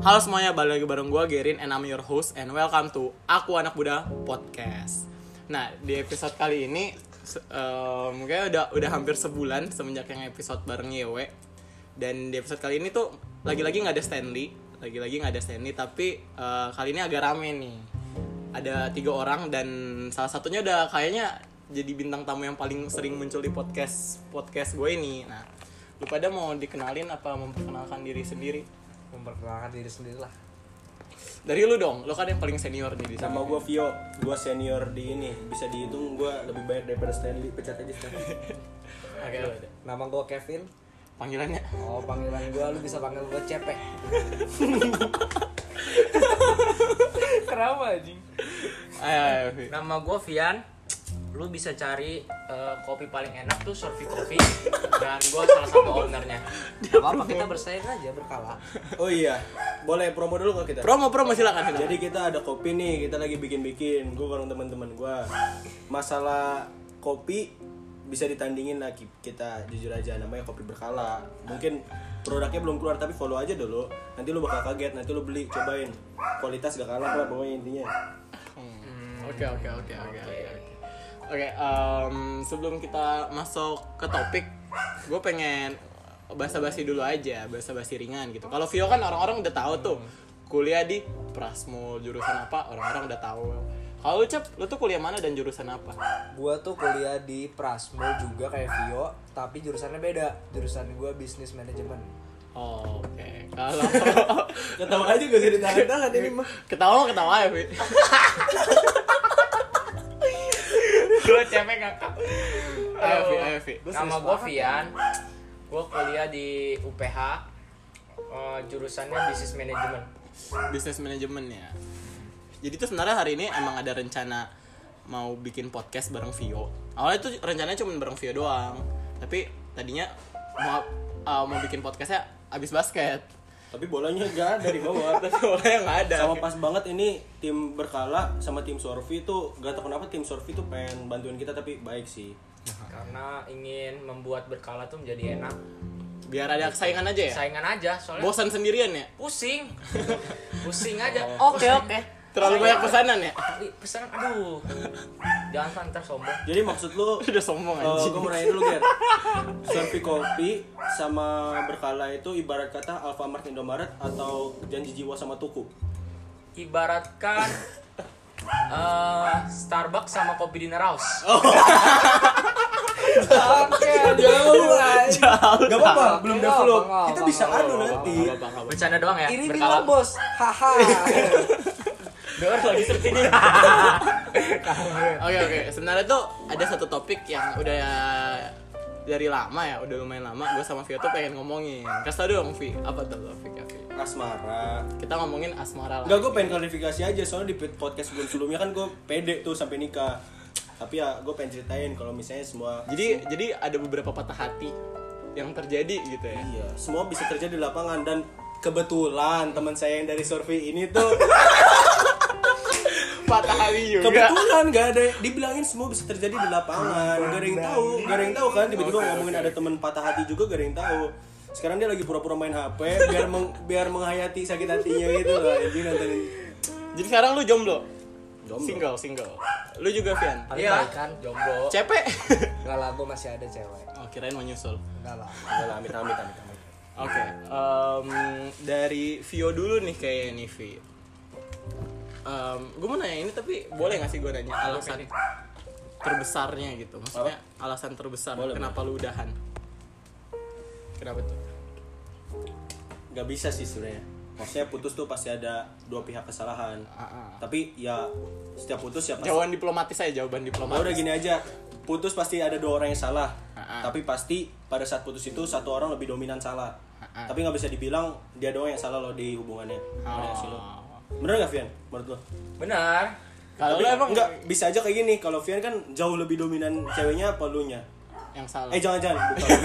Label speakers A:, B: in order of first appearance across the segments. A: Halo semuanya, balik lagi bareng gue Gerin and I'm your host and welcome to Aku Anak Muda Podcast. Nah, di episode kali ini se- eh, mungkin udah udah hampir sebulan semenjak yang episode bareng Yewe. Dan di episode kali ini tuh lagi-lagi nggak ada Stanley, lagi-lagi nggak ada Stanley tapi eh, kali ini agak rame nih. Ada tiga orang dan salah satunya udah kayaknya jadi bintang tamu yang paling sering muncul di podcast podcast gue ini. Nah, lu pada mau dikenalin apa memperkenalkan diri sendiri?
B: memperkenalkan diri sendiri lah
A: Dari lu dong, lu kan yang paling senior nih di sini.
C: Nama gue Vio, gue senior di ini Bisa dihitung gue lebih banyak daripada Stanley Pecat aja Stanley
A: Oke, lu deh.
B: Ya. nama gue Kevin
A: Panggilannya.
B: oh panggilan gue lu bisa panggil gue Cepek
D: Kenapa anjing?
A: Ayo, ayo, Vi.
D: Nama gue Vian Lu bisa cari eh, kopi paling enak tuh Surfi Coffee Dan gue salah satu ownernya
B: apa apa kita bersaing aja berkala
C: Oh iya, boleh promo dulu gak kita?
A: Promo promo silakan. silakan.
C: Jadi kita ada kopi nih, kita lagi bikin-bikin Gue bareng teman-teman gue Masalah kopi bisa ditandingin lagi kita jujur aja namanya kopi berkala mungkin produknya belum keluar tapi follow aja dulu nanti lu bakal kaget nanti lu beli cobain kualitas gak kalah lah pokoknya intinya
A: Hmm, Oke, oke, oke, oke. oke, oke. Oke, em, sebelum kita masuk ke topik, gue pengen basa-basi dulu aja, basa-basi ringan gitu. Kalau Vio kan orang-orang udah tahu tuh kuliah di Prasmul jurusan apa, orang-orang udah tahu. Kalau lu Cep, lu tuh kuliah mana dan jurusan apa?
B: gue tuh kuliah di Prasmo juga kayak Vio tapi jurusannya beda jurusan gue bisnis manajemen
A: Oh, oke. Kalau
C: ketawa aja gak usah ditahan-tahan ini mah
A: ketawa ketawa ya, Vi.
D: Gue cewek kakak
A: Ayo, Vi, ayo, Vi.
D: Nama gue Vian Gue kuliah di UPH eh, Jurusannya bisnis manajemen
A: bisnis manajemen ya. Jadi tuh sebenarnya hari ini emang ada rencana mau bikin podcast bareng Vio. Awalnya tuh rencananya cuma bareng Vio doang. Tapi tadinya mau uh, mau bikin podcastnya abis basket.
C: tapi bolanya gak ada di bawah
A: Tapi awalnya nggak ada.
C: sama pas banget ini tim berkala sama tim Sorvi tuh gak tau kenapa tim Sorvi tuh pengen bantuin kita tapi baik sih
D: Karena ingin membuat berkala tuh menjadi enak
A: Biar ada saingan aja ya.
D: Saingan aja soalnya
A: Bosan sendirian ya.
D: pusing Pusing aja Oh,
A: Oke,
D: Pusing.
A: oke. Terlalu banyak pesanan ya.
D: Ih, Pesan aduh Jangan ntar sombong
C: jadi maksud lu
A: Udah sombong
C: eh
A: anjing.
C: gue mau nanya dulu Ger Sorvi Kopi sama berkala itu ibarat kata Alfamart Indomaret atau janji jiwa sama tuku
D: ibaratkan eh, Starbucks sama kopi dinner house.
B: oke jauh
C: gak apa-apa belum
B: Nggak
C: develop
B: apa-apa, nggak
C: kita
B: apa-apa,
C: bisa adu nanti
D: Bercanda doang ya.
B: ini
D: berkala.
B: bilang bos haha
D: Dengar lagi seperti ini.
A: Oke oke, sebenarnya tuh ada satu topik yang udah dari lama ya, udah lumayan lama gue sama Vio tuh pengen ngomongin. Kasih tau dong Vi, apa tuh topiknya Vi?
C: asmara
A: Kita ngomongin asmara lah.
C: Enggak, gue pengen klarifikasi aja soalnya di podcast sebelum sebelumnya kan gue pede tuh sampai nikah. Tapi ya gue pengen ceritain kalau misalnya semua
A: Jadi jadi ada beberapa patah hati yang terjadi gitu ya.
C: iya semua bisa terjadi di lapangan dan kebetulan teman saya yang dari survei ini tuh
A: Iya. Patah hati juga.
C: kebetulan gak ada dibilangin semua bisa terjadi di lapangan
A: Iya.
C: gak ada yang tahu gak ada yang tahu kan tiba-tiba ngomongin ada teman patah hati juga gak ada yang tahu sekarang dia lagi pura-pura main HP biar meng, biar menghayati sakit hatinya gitu loh jadi nontonin
A: Jadi sekarang lu jomblo.
C: Jomblo.
A: Single, single. Lu juga Vian.
D: Iya.
B: kan
D: Jomblo.
A: CP.
B: Enggak lah gue masih ada cewek
A: oh, kirain mau nyusul.
B: Enggak lah
C: Udah lah, amit amit amit amit
A: Oke, em, dari Vio dulu nih kayaknya nih Vi. gue mau nanya ini tapi boleh gak sih gue nanya alasan terbesarnya gitu? Maksudnya alasan terbesar
C: Boleh,
A: kenapa lu udahan? Kenapa tuh?
C: nggak bisa sih sebenarnya maksudnya putus tuh pasti ada dua pihak kesalahan
A: Ah, ah.
C: tapi ya setiap putus ya pasti
A: Jawaban diplomatis aja, jawaban
C: Nah, udah
A: diplomatis.
C: gini aja putus pasti ada dua orang yang salah
A: Ah, ah.
C: tapi pasti pada saat putus itu satu orang lebih dominan salah
A: Ah, ah.
C: tapi nggak bisa dibilang dia doang yang salah loh di hubungannya
A: Oh.
C: Bener nggak sih lo? bener nggak Vian menurut lo
D: Benar.
A: Kalau
C: Tapi
A: lu emang
C: nggak bisa aja kayak gini kalau Vian kan jauh lebih dominan ceweknya apa lunya
A: yang salah. Iya.
C: eh jangan jangan bukan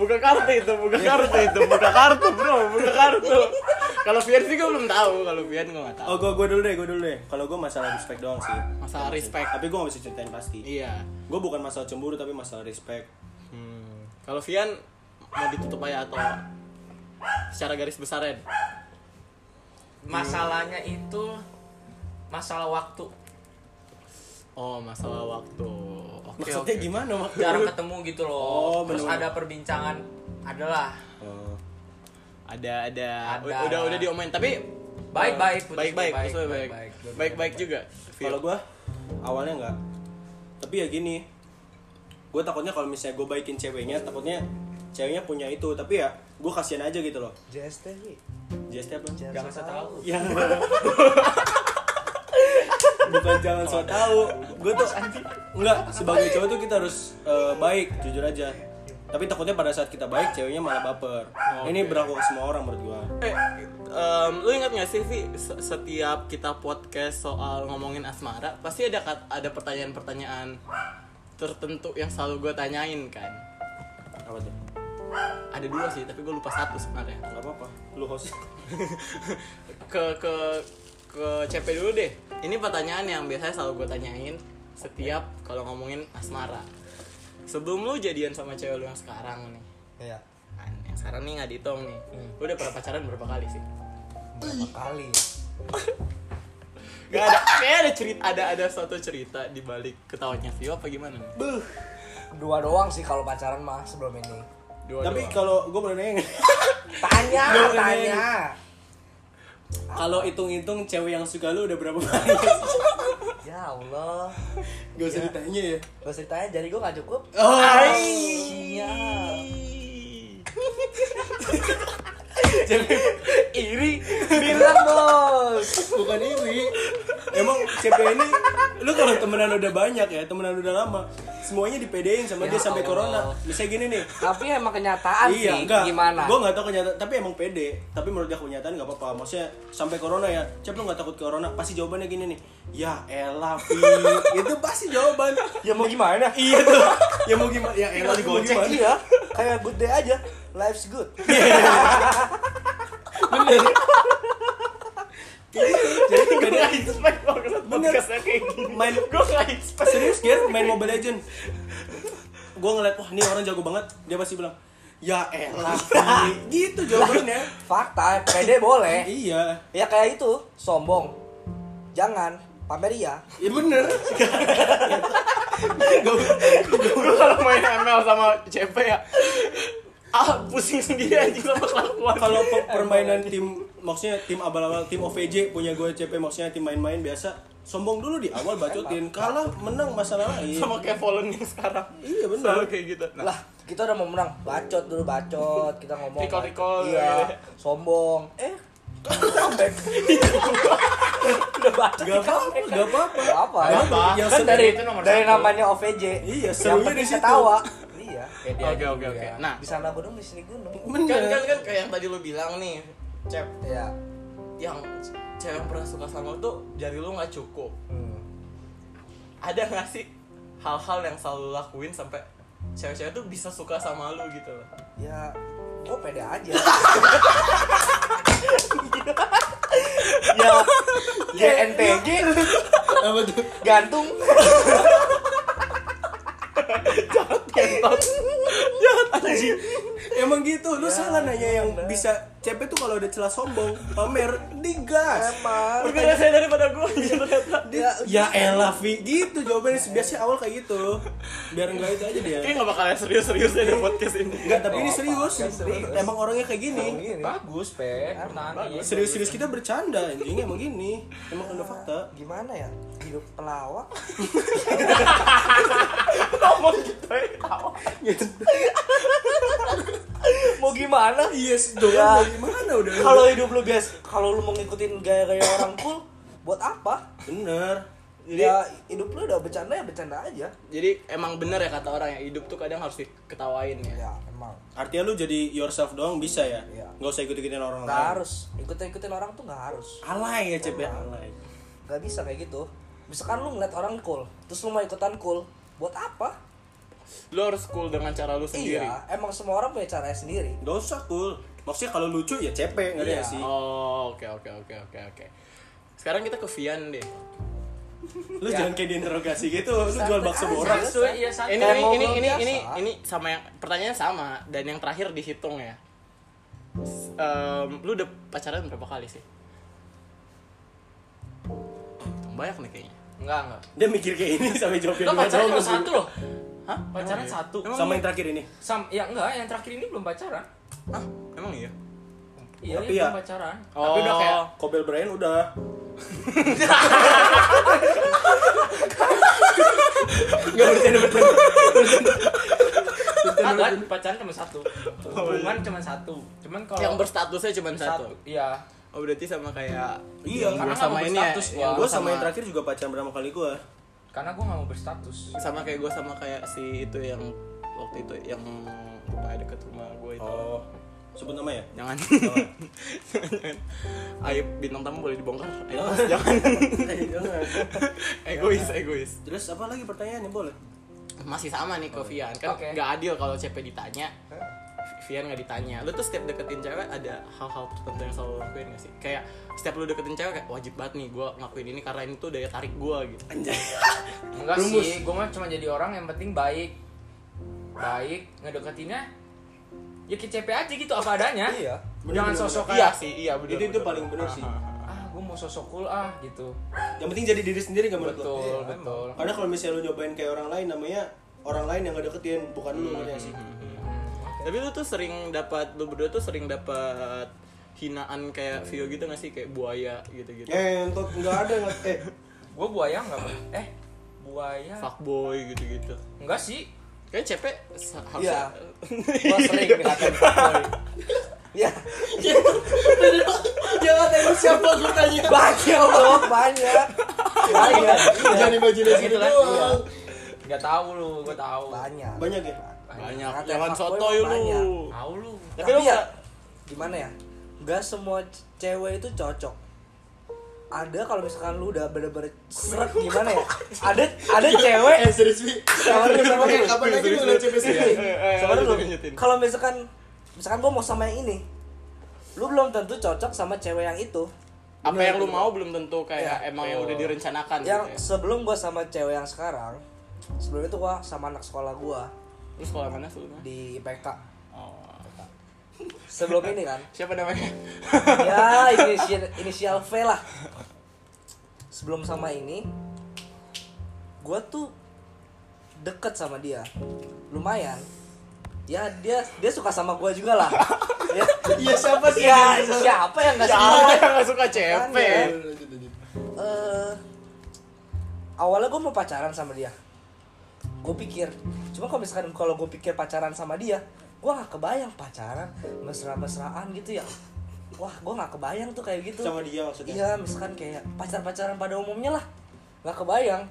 A: buka kartu itu, buka kartu itu, buka kartu bro, buka kartu. Kalau Vian sih gue belum tahu, kalau Vian gue gak tahu.
C: oh gue gue dulu deh gue dulu deh kalau gue masalah respect doang sih
A: Masalah respect.
C: tapi gue nggak bisa ceritain pasti
A: Iya.
C: gue bukan masalah cemburu tapi masalah respect
A: Hmm. Kalau Vian mau ditutup aja atau secara garis besar Ren?
D: masalahnya itu masalah waktu
A: Oh, masalah waktu. Oh, Oke,
C: Maksudnya
A: oke.
C: gimana waktu?
D: jarang ketemu gitu
C: Oh,
D: loh terus
C: bener-bener.
D: ada perbincangan adalah
C: Oh.
A: Ada, ada
D: Ada.
A: U- udah udah diomongin tapi Oh,
D: baik baik putus
A: baik baik
D: baik
A: maksudnya baik
D: baik, baik.
A: baik baik juga.
C: Kalau gua awalnya enggak. Tapi ya gini. Gue takutnya kalau misalnya gue baikin ceweknya, takutnya ceweknya punya itu. Tapi ya gue kasihan aja gitu loh.
B: JST sih.
C: JST apa?
D: jangan usah tahu
C: Ya. Bukan jangan so tau. Gue tuh enggak sebagai cowok tuh kita harus eh, baik, jujur aja. Tapi takutnya pada saat kita baik, ceweknya malah baper. Ini berlaku ke semua orang menurut gua.
A: Eh, em, lu ingat gak sih Vi, se- setiap kita podcast soal ngomongin asmara pasti ada kat- ada pertanyaan-pertanyaan tertentu yang selalu gue tanyain kan
C: Apa tuh?
A: ada dua sih tapi gue lupa satu sebenarnya
C: Gak apa-apa. Lu host.
A: ke ke ke CP dulu deh ini pertanyaan yang biasanya selalu gue tanyain setiap kalau ngomongin asmara sebelum lu jadian sama cewek lu yang sekarang nih
B: Iya.
A: kan, yang sekarang nih nggak dihitung nih lu udah pernah pacaran berapa kali sih
B: Berapa kali?
A: Gak ada, kayak ada cerita, ada ada suatu cerita di balik ketawanya Vio apa gimana nih?
B: Dua doang sih kalau pacaran mah sebelum ini.
A: Dua
C: Tapi
A: doang.
C: kalau gue pernah nanya nggak?
B: Tanya,
C: Belum ini.
B: tanya.
C: Kalau hitung-hitung cewek yang suka lu udah berapa banyak?
B: Ya Allah.
C: Gak usah ditanya ya.
B: Gak usah ditanya, jari gue gak cukup.
C: Oh,
B: Iya.
A: iri.
B: Bilang bos.
C: bukan iri. Emang CP ini lu kalau temenan udah banyak ya, temenan udah lama, semuanya dipedein sama
B: Ya
C: dia sampai
B: Allah.
C: corona. Misalnya gini nih.
B: Tapi emang kenyataan
C: iya,
B: sih
C: enggak.
B: gimana?
C: Gue nggak tahu kenyataan, tapi emang pede. Tapi menurut dia kenyataan nggak apa-apa. Maksudnya sampai corona ya, cep lu nggak takut corona? Pasti jawabannya gini nih. Ya elah, Fi." itu pasti jawaban.
B: Ya mau gimana?
C: iya tuh. Ya mau gimana? Ya elah, mau
B: Gocek
C: gimana?
B: iya. Kayak good day aja. Life's good.
C: Bener. Jadi beda
A: expect banget
C: podcastnya
A: kayak gini.
C: main
A: Gue gak expect.
C: serius Ger main Mobile Legend. Gue ngeliat wah ini orang jago banget. Dia pasti bilang ya elah Fi." gitu jawabannya.
B: Fakta, pede boleh.
C: iya.
B: Ya kayak itu, sombong. Jangan pamer ya.
C: Ya bener.
A: Gue kalau main ML sama CP ya, ah pusing sendiri anjing sama kelakuan.
C: Kalau pe- permainan tim maksudnya tim abal-abal tim OVJ punya gue CP maksudnya tim main-main biasa sombong dulu di awal bacotin kalah menang masalah lain.
A: sama kayak Volun yang sekarang.
C: Iya, bener.
A: Selalu kayak gitu. Nah,
B: Lah, kita udah mau menang. Bacot dulu bacot. Kita ngomong.
A: Recall-recall.
B: Iya. Sombong. Eh, comeback. udah bacot.
C: Gak apa-apa, gak apa-apa.
B: Gak apa.
C: Gak apa.
B: Yang
C: Kan
B: seru-
D: dari itu nomor
B: dari
D: satu.
B: namanya OVJ.
C: Iya,
B: Yang
C: serunya
B: penting
C: di situ.
B: Ketawa. Iya.
D: Pede
A: Oke,
D: aja
A: oke,
D: dulu
A: oke.
D: ya.
A: Nah,
B: Di sana gunung, di sini gunung.
A: kan kan
C: Bener.
A: kan kayak yang tadi lu bilang nih, Cep,
B: Iya.
A: yang cewek yang pernah suka sama lu tuh jari lu nggak cukup.
B: Hmm.
A: ada nggak sih hal-hal yang selalu lu lakuin sampai cewek-cewek tuh bisa suka sama lu gitu loh
B: Ya, gue pede aja. ya, GNTG
C: Apa tuh?
B: gantung.
A: kentot jahat anjing
C: Emang gitu,
A: Ya.
C: lu salah nanya yang bisa CP tuh kalau ada celah sombong, pamer, digas.
B: Emang.
A: lebih saya daripada gue anjing ternyata
B: Ya,
C: Ya elah Vi, gitu jawabannya biasanya awal kayak gitu. Biar enggak itu aja dia.
A: kayak nggak bakalan serius-serius deh podcast ini
C: Enggak, tapi ini
B: Nggak
C: serius.
B: apa-apa, Oh, kan serius.
C: Emang orangnya kayak
B: Emang
C: gini.
B: gini.
D: bagus pe pertahanan iya.
C: Serius-serius kita bercanda anjing emang gini. Emang ada fakta.
B: Gimana ya? Hidup pelawak.
A: ngomong gitu ya tawa.
B: Mau gimana?
A: Iya,
C: Yes,
B: Ya.
C: doang dari mana udah?
B: Kalau hidup lu bias, kalau lu mau ngikutin gaya-gaya orang cool, buat apa?
C: bener.
A: Jadi-
B: ya hidup lu udah bercanda ya bercanda aja.
A: jadi emang bener ya kata orang ya hidup tuh kadang harus diketawain ya
B: Ya, emang.
C: Artinya lu jadi yourself doang bisa ya?
B: Iya.
C: Nggak usah ikut-ikutin orang
B: Nggak
C: lain.
B: harus. Ikut-ikutin orang tuh nggak harus.
C: Alay ya CP alay.
B: Gak bisa kayak gitu. Misalkan lu ngeliat orang cool, terus lu mau ikutan cool, buat apa?
A: lu harus cool dengan cara lu sendiri
B: Iya, emang semua orang punya caranya sendiri.
C: Gak usah cool. Maksudnya kalau lucu ya CP nggak ada
B: Iya.
C: ya sih.
A: oh oke oke oke oke oke sekarang kita ke Vian deh
C: Lu
B: iya.
C: jangan kayak diinterogasi gitu. Lu jual bakso borak.
D: Sesuai, iya santai.
A: ini
B: Kayak
A: ini ini
B: ngobrol
A: ini
B: biasa. Iya.
A: ini ini sama yang pertanyaannya sama dan yang terakhir dihitung ya S- em, lu udah pacaran berapa kali sih banyak nih kayaknya.
D: Enggak, enggak.
C: Dia mikir kayak ini sampai jawabnya
D: Lo
C: dua
D: pacaran
C: tahun.
D: cuma satu loh.
A: Hah?
D: Pacaran satu.
A: Emang
C: Sama
A: iya?
C: yang terakhir ini.
D: Sam, ya enggak, yang terakhir ini belum pacaran.
A: Hah? Emang iya?
D: Iya,
C: Tapi
D: ini
C: ya-
D: belum pacaran.
A: Oh.
C: Tapi udah kayak Kobel Brian udah. Gak bercanda bercanda.
D: Kagak, pacaran cuma satu.
C: Oh, iya.
D: Hubungan cuma satu. Cuman kalau
A: Yang berstatusnya cuma satu.
D: satu, iya.
A: Oh berarti sama kayak
C: Iya,
A: yang
D: karena
A: gua sama
D: nggak
A: ini ya.
D: berstatus,
A: yang
D: Wak.
C: Gue sama yang terakhir juga pacaran pertama kali gue.
D: Karena gue gak mau berstatus.
A: sama kayak gue sama kayak si itu yang waktu itu yang rumah deket rumah gue itu.
C: Oh, sebut nama ya.
A: Jangan.
C: Jangan.
A: Jangan. Aib bintang tamu boleh dibongkar. Ayo, jangan.
C: Iya,
A: egois, egois.
C: Terus apa lagi pertanyaannya boleh?
A: Iya. Masih sama nih ke Vian. Kan
D: Oke.
A: nggak adil kalau CP ditanya. Vian nggak ditanya. Lu tuh setiap deketin cewek ada hal-hal tertentu yang selalu lu lakuin gak sih? Kayak setiap lu deketin cewek kayak wajib banget nih gue ngelakuin ini karena ini tuh daya tarik gue gitu.
C: Anjay.
D: Enggak
C: Rumus.
D: sih, gue mah cuma jadi orang yang penting baik. Baik, ngedeketinnya ya ke CP aja gitu apa adanya.
B: Iya.
D: Jangan
C: Bener-bener.
D: sosok
A: Iya
D: kayak
A: sih, iya bener.
C: Itu itu paling bener sih.
D: ah gue mau sosok cool ah gitu.
C: Yang penting jadi diri sendiri gak menurut lo?
D: Betul, betul.
C: Karena kalau misalnya lu nyobain kayak orang lain namanya orang lain yang gak deketin bukan lu ngerti nggak sih.
A: Tapi lu tuh sering dapat lu berdua tuh sering dapat hinaan kayak Vio gitu gak sih kayak buaya gitu-gitu.
C: Eh, entot nggak ada nggak eh
D: Gue buaya enggak, Bang? Eh,
A: iya.
D: buaya.
A: Fuckboy gitu-gitu.
D: Enggak sih.
A: Kayaknya CP se-
B: Iya.
A: harusnya
B: Gua sering dikatain fuckboy.
D: Iya.
B: Ya. Jangan tanya siapa gue
D: Iya.
B: tanya. Banyak loh, banyak. Banyak.
C: jangan imajinasi
D: Gitu
C: gitu
D: kan? Iya.
C: doang.
D: Enggak tahu lu, gue tahu.
B: Banyak.
C: Banyak ya?
A: banyak.
B: Ngatain
A: Jangan
B: fuckboy
A: sotoy
B: mah banyak.
A: lu.
D: Tahu lu.
A: Tapi
B: Tapi
A: lu
B: ya,
A: nggak-
B: gimana ya? Gak semua c- cewek itu cocok. Ada kalau misalkan lu udah bener-bener seret gimana ya? Ada ada cewek
C: Eh serius sih.
B: Sabar dulu, sabar dulu.
C: Kapan lagi lu ngeliat CPC ya?
A: lanjutin,
B: Sabar dulu.
A: Eh, lanjutin.
B: Kalau misalkan misalkan gua mau sama yang ini, lu belum tentu cocok sama cewek yang itu.
A: apa yang lu mau belum tentu kayak emang yang udah direncanakan
B: Yang
A: gitu oh. ya.
B: sebelum gua sama cewek yang sekarang, sebelum itu gua sama anak sekolah gua
A: Lu sekolah mana sebelumnya?
B: di IPK.
A: Oh.
B: Sebelum ini kan.
A: Siapa namanya?
B: ya inisial inisial V lah sebelum sama ini gue tuh deket sama dia lumayan ya dia dia suka sama gue juga lah ya,
C: Iya siapa sih?
B: ya siapa yang nggak suka
A: Siapa yang gak suka CP?
B: Kan
C: Eh, lanjut, lanjut.
B: Eh, awalnya gue mau pacaran sama dia gue pikir cuma kalau misalkan kalau gue pikir pacaran sama dia gue gak kebayang pacaran mesra-mesraan gitu ya wah gue gak kebayang tuh kayak gitu
C: Sama dia maksudnya?
B: iya misalkan kayak pacar-pacaran pada umumnya lah gak kebayang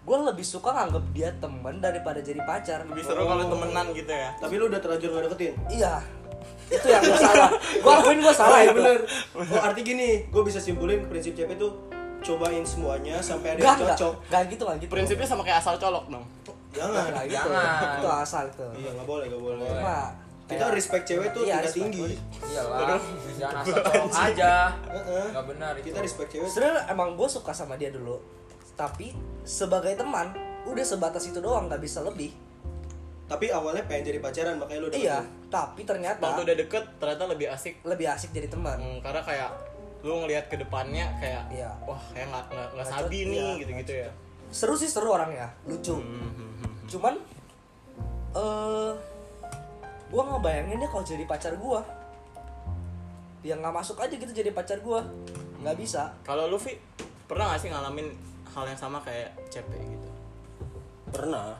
B: gue lebih suka nganggep dia temen daripada jadi pacar
A: Lebih seru kalau temenan gitu ya.
C: Tapi lu udah terlanjur gak deketin?
B: iya itu yang gue salah gue akuin gue salah
C: ya
B: itu
C: bener. Oh arti gini, gue bisa simpulin prinsip CP itu cobain semuanya sampai ada
B: gak
C: yang
B: gak
C: cocok.
B: gak gitu gak gitu
A: Prinsipnya sama kayak asal colok dong.
C: Jangan.
B: Gak gitu.
D: Jangan.
B: itu asal tuh
C: Iya nggak boleh nggak boleh.
B: Cuma
C: Kita
B: kayak-
C: respect cewek tuh
B: Iya,
C: tingkat
B: respect.
C: tinggi.
D: Iyalah, jangan asal colok aja.
C: Heeh.
D: Enggak benar itu.
C: Kita respect cewek.
B: Sebenarnya emang gue suka sama dia dulu, tapi sebagai teman udah sebatas itu doang nggak bisa lebih.
C: Tapi awalnya pengen jadi pacaran makanya lu udah
B: Iya, tapi ternyata
A: Waktu udah deket ternyata lebih asik
B: lebih asik jadi teman.
A: Hmm, karena kayak lu ngelihat ke depannya kayak
B: Iya.
A: wah kayak nggak nggak nggak
B: Nggak
A: sabi
B: cocok,
A: nih
B: iya,
A: gitu gitu ya
B: Seru sih seru orangnya, lucu. Cuman eh gue nggak bayangin dia kalau jadi pacar gue. Dia nggak masuk aja gitu jadi pacar gue, nggak bisa.
A: kalau lu Vi pernah gak sih ngalamin hal yang sama kayak CP gitu
C: pernah.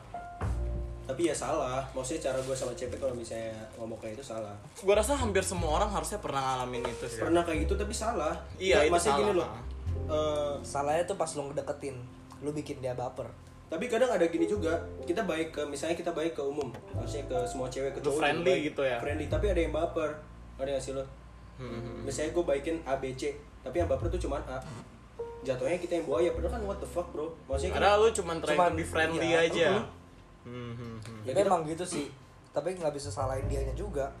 C: Tapi ya salah. Maksudnya cara gue sama CP kalau misalnya ngomong kayak itu salah.
A: gua rasa hampir semua orang harusnya pernah ngalamin itu sih
C: Pernah kayak gitu tapi salah.
A: Iya, itu
C: masih gini
A: salah.
C: loh. Eh,
B: Salahnya tuh pas lo ngedeketin, lu bikin dia baper.
C: tapi kadang ada gini juga kita baik ke misalnya kita baik ke umum maksudnya ke semua cewek
A: Lu
C: ke cowok juga
A: friendly
C: baik.
A: gitu ya?
C: friendly tapi ada yang baper ada nggak sih lo
A: Hmm.
C: misalnya gue baikin A B C tapi yang baper tuh cuma A jatuhnya kita yang buaya padahal kan what the fuck bro maksudnya kita,
A: karena lu cuman try
B: Iya, kan?
A: to
B: Cuman,
A: be friendly
B: iya,
A: aja
C: uh-uh.
A: Hmm, hmm, hmm.
B: Ya,
C: ya kita
B: emang gitu sih, tapi nggak bisa salahin dianya juga.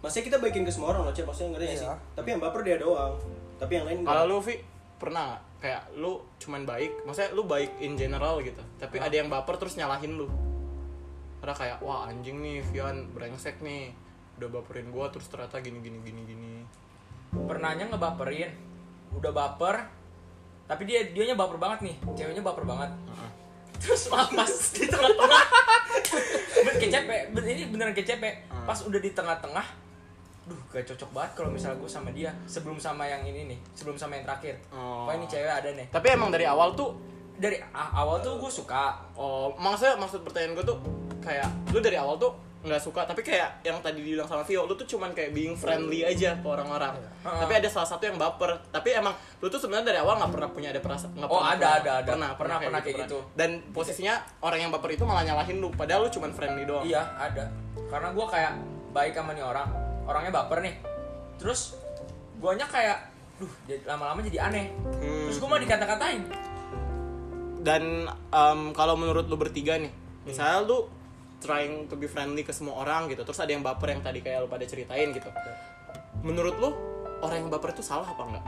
C: maksudnya kita baikin ke semua orang loh Cep. maksudnya ngerti
B: Iya.
C: nggak sih tapi yang baper dia doang tapi yang lain nggak.
A: kalau lu Vi pernah nggak? kayak lu cuman baik maksudnya lu baik in general gitu tapi ada yang baper terus nyalahin lu karena kayak wah anjing nih Vian brengsek nih udah baperin gua terus ternyata gini gini gini gini
D: Pernahnya ngebaperin. Udah baper tapi dia dianya baper banget nih ceweknya baper banget terus maaf pas di tengah-tengah ben kecepe ben ini beneran kecepe pas udah di tengah-tengah duh gak cocok banget kalau misalnya gue sama dia sebelum sama yang ini nih sebelum sama yang terakhir
A: Oh.
D: Pokoknya ini cewek ada nih
A: Tapi emang dari awal tuh
D: dari a- awal tuh gue suka
A: oh, maksudnya maksud pertanyaan gue tuh kayak lu dari awal tuh nggak suka tapi kayak yang tadi dibilang sama Vio lu tuh cuman kayak being friendly aja ke orang-orang
D: Heeh.
A: tapi ada salah satu yang baper tapi emang lu tuh sebenarnya dari awal nggak pernah punya ada perasaan nggak
D: Oh,
A: pernah
D: ada,
A: pernah-
D: ada, ada.
A: pernah pernah
D: Pernah, pernah kayak gitu.
A: dan posisinya orang yang baper itu malah nyalahin lu padahal lu cuman friendly doang
D: Iya ada. Karena gue kayak baik sama nih orang, orangnya baper nih. Terus guanya kayak, duh jadi- lama-lama jadi aneh.
A: Hmm.
D: Terus gue mah dikata-katain.
A: dan em, kalau menurut lu bertiga nih
D: Hmm.
A: misalnya lu trying to be friendly ke semua orang gitu terus ada yang baper yang tadi kayak lu pada ceritain gitu
D: Iya.
A: menurut lu orang yang baper itu salah apa enggak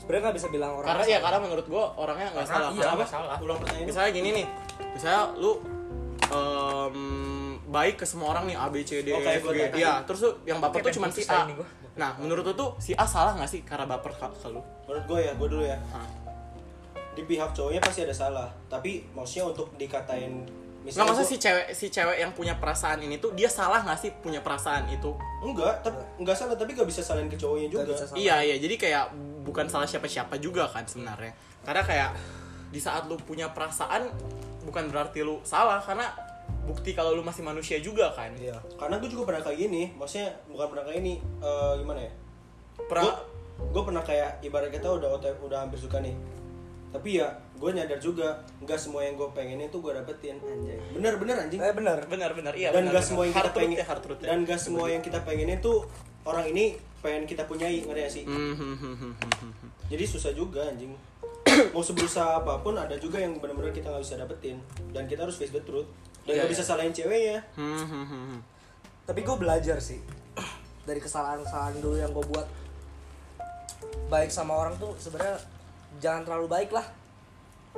B: sebenarnya nggak bisa bilang orang
A: karena ya karena menurut gua orangnya nggak
D: Karena
A: salah
D: iya,
A: Karena
D: nggak salah.
C: ulang pertanyaan
A: misalnya gini nih misalnya lu em, baik ke semua orang nih A B C D
C: Oh, kayak
A: F
C: gua
A: G
C: tadi.
A: ya terus lu yang baper
D: Oke,
A: tuh cuma
D: pengen
A: si
D: putus
A: A
D: tadi nih gua.
A: nah menurut lu tuh si A salah nggak sih karena baper ke, ke lu Nah,
C: menurut gue ya gue dulu ya
A: Hah.
C: di pihak cowoknya pasti ada salah tapi maksudnya untuk dikatain
A: nggak
C: misalnya
A: maksudnya
C: gua-
A: si cewek si cewek yang punya perasaan ini tuh dia salah nggak sih punya perasaan itu
C: enggak tapi enggak salah tapi gak bisa salahin ke cowoknya
B: nggak
C: juga
B: bisa salah.
A: Iya iya jadi kayak bukan salah siapa-siapa juga kan sebenarnya karena kayak di saat lu punya perasaan bukan berarti lu salah karena bukti kalau lu masih manusia juga kan
B: Iya.
C: karena gue juga pernah kayak gini maksudnya bukan pernah kayak gini eh, gimana ya
A: Pra-
C: gue pernah kayak ibarat kita udah OTW udah hampir suka nih tapi ya gue nyadar juga nggak semua yang gue pengenin tuh gue dapetin anjay bener-bener anjing
B: eh bener
A: benar-benar iya
C: dan
A: benar,
C: gak semua yang
A: benar.
C: kita
A: Hard truth
C: pengen
A: ya, hard truth ya.
C: dan gak semua yang kita pengenin tuh orang ini pengen kita punyai ngerti gak sih
A: Hmm, hmm, hmm, hmm, hmm, hmm.
C: jadi susah juga anjing mau seberusaha apapun ada juga yang benar-benar kita nggak bisa dapetin dan kita harus face the truth dan
A: Iya,
C: nggak
A: iya.
C: bisa salahin ceweknya
A: Hmm, hmm, hmm, hmm.
B: tapi gue belajar sih dari kesalahan-kesalahan dulu yang gue buat baik sama orang tuh sebenarnya jangan terlalu baik lah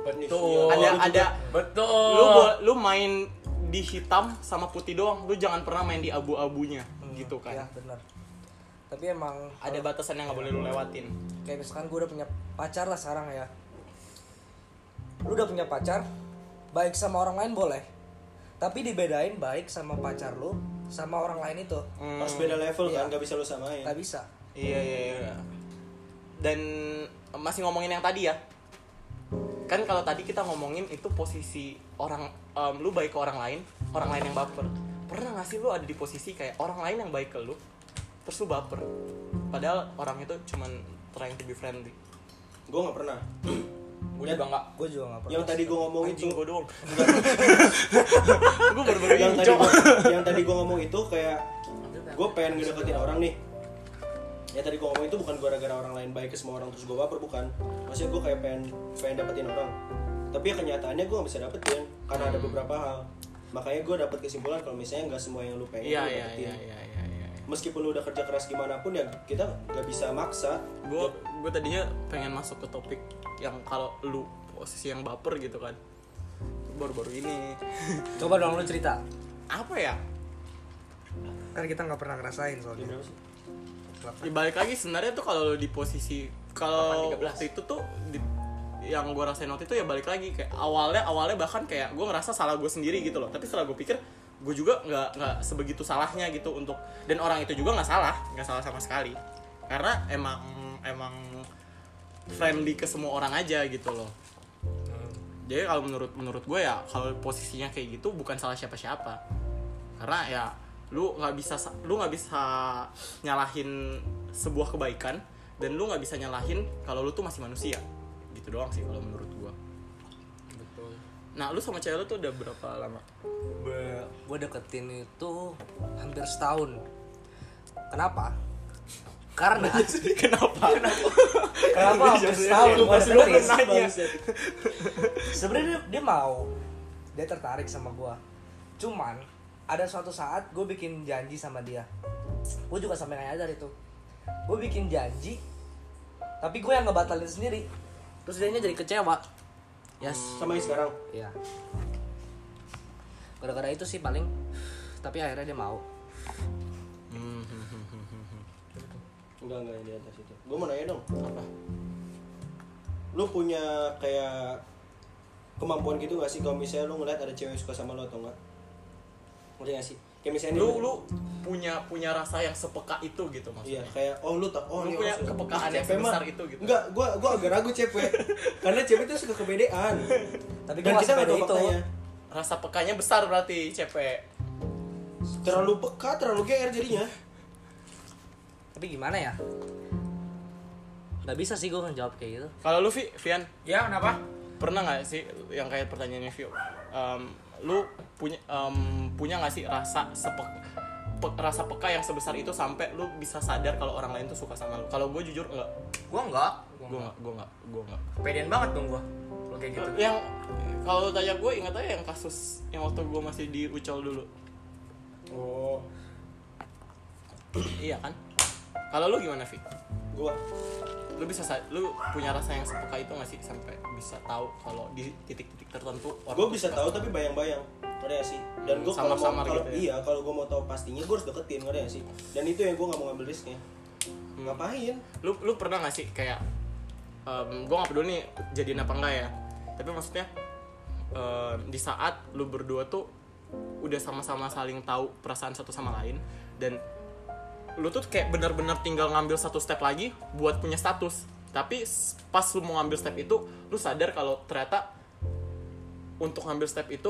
C: iya.
D: Betul.
A: ada
C: juga-
A: ada
D: Betul.
A: Oh,
C: Oh.
A: lu bo- lu main di hitam sama putih doang lu jangan pernah main di abu-abunya
C: Hmm,
A: gitu
B: ya
C: iya.
A: kan
B: bener tapi emang
A: ada batasan yang nggak boleh lu lewatin
B: kayak misalkan gue udah punya pacar lah sekarang ya lu udah punya pacar baik sama orang lain boleh tapi dibedain baik sama pacar lu sama orang lain itu
A: Hmm.
C: harus beda level
B: Iya.
C: kan nggak bisa lu samain
B: nggak bisa
A: Iya iya iya. Dan masih ngomongin yang tadi ya. Kan kalau tadi kita ngomongin itu posisi orang em, lu baik ke orang lain, orang lain yang baper. Pernah gak sih lu ada di posisi kayak orang lain yang baik ke lu, terus lu baper. Padahal orang itu cuman trying to be friendly.
C: gue nggak pernah
D: Gue juga nggak.
B: gue juga nggak pernah
C: yang tadi gue ngomong Oh, itu
A: Anjing gue doang. gue baru-baru
C: yang
A: ini
C: tadi
A: cok.
C: gua, yang tadi gue ngomong itu kayak gue pengen ngedeketin orang nih ya tadi gue ngomong itu bukan gara-gara orang lain baik ke semua orang terus gue baper bukan maksudnya gue kayak pengen pengen dapetin orang tapi ya kenyataannya gue gak bisa dapetin karena ada beberapa hal makanya gue dapet kesimpulan kalau misalnya nggak semua yang lu pengen
A: Iya
C: lu
A: iya
C: dapetin
A: iya iya iya. iya.
C: meskipun lu udah kerja keras gimana pun ya kita nggak bisa maksa
A: gue gue tadinya pengen masuk ke topik yang kalau lu posisi yang baper gitu kan baru-baru ini
B: coba dong lu cerita
A: apa ya
B: kan kita nggak pernah ngerasain soalnya
A: dibalik Ya, lagi sebenarnya tuh kalau lu di posisi kalau
D: 8.13.
A: waktu itu tuh di- yang gue rasain waktu itu ya balik lagi kayak awalnya awalnya bahkan kayak gue ngerasa salah gue sendiri gitu loh tapi setelah gue pikir gue juga nggak nggak sebegitu salahnya gitu untuk dan orang itu juga nggak salah nggak salah sama sekali karena emang emang friendly ke semua orang aja gitu loh jadi kalau menurut menurut gue ya kalau posisinya kayak gitu bukan salah siapa-siapa karena ya lu nggak bisa lu nggak bisa nyalahin sebuah kebaikan dan lu nggak bisa nyalahin kalau lu tuh masih manusia gitu doang sih kalau menurut gue
D: Betul.
A: nah lu sama cewek lu tuh udah berapa lama
B: gue deketin itu hampir setahun kenapa karena
A: kenapa Iya,
B: kenapa hampir setahun
A: Lu
B: gua
A: pasti lu
B: deketin?
A: pernah nanya.
B: sebenarnya dia, dia mau dia tertarik sama gua cuman ada suatu saat gue bikin janji sama dia gue juga sampai nggak nyadar itu gue bikin janji tapi gue yang ngebatalin sendiri terus dia jadi kecewa yes
C: sama yang sekarang
B: Iya. Gara-gara itu sih paling tapi akhirnya dia mau.
C: enggak enggak yang di atas itu gue mau nanya dong
A: apa
C: lu punya kayak kemampuan gitu gak sih kalau misalnya lu ngeliat ada cewek yang suka sama lu atau enggak ngerti gak sih kayak misalnya nih-
A: lu lu punya punya rasa yang sepeka itu gitu
C: Iya,
A: maksudnya
C: kayak oh lu tak oh
A: Lu
C: ini
A: punya
C: orang suka-
A: kepekaan yang
C: Cepe mah.
A: sebesar itu gitu.
C: Enggak, gua gua agak ragu cepe. Karena cepe itu suka kebedean.
B: Tapi
C: Dan
B: gua
C: kita
B: nggak
C: nggak tahu
B: sepede itu.
C: faktanya.
A: rasa pekanya besar berarti CP
C: Terlalu peka, terlalu GR jadinya.
B: Tapi gimana ya? Gak bisa sih gue ngejawab kayak gitu.
A: kalau lu Vi, Vian
D: Ya kenapa?
A: pernah nggak sih yang kayak pertanyaannya Vio Em, lu punya em, punya nggak sih rasa sepek pe- rasa peka yang sebesar itu sampai lu bisa sadar kalau orang lain tuh suka sama lu kalau gue jujur enggak
D: Gua enggak.
A: gue enggak gue enggak gue enggak
D: Pedean banget dong gua. Lo kayak gitu.
A: yang kalau lu tanya gue ingat aja yang kasus yang waktu gue masih di Ucol dulu
C: Oh,
A: iya kan kalau lu gimana Vi
C: gua
A: lu bisa sa- lu punya rasa yang sepeka itu nggak sih sampai bisa tahu kalau di titik-titik tertentu
C: gua bisa
A: suka
C: tahu tapi bayang-bayang. Ngerti gak sih? Dan gua kalau mau
A: samar-samar
C: kalau
A: gitu ya.
C: iya, kalau gua mau tahu pastinya gua harus deketin, ngerti gak sih? Dan itu yang gua nggak mau ngambil risknya.
A: Hmm.
C: Ngapain?
A: lu lu pernah nggak sih kayak em gue nggak peduli nih jadiin apa enggak ya tapi maksudnya em, di saat lu berdua tuh udah sama-sama saling tahu perasaan satu sama lain dan lu tuh kayak bener-bener tinggal ngambil satu step lagi buat punya status tapi s- pas lu mau ngambil step itu lu sadar kalau ternyata untuk ngambil step itu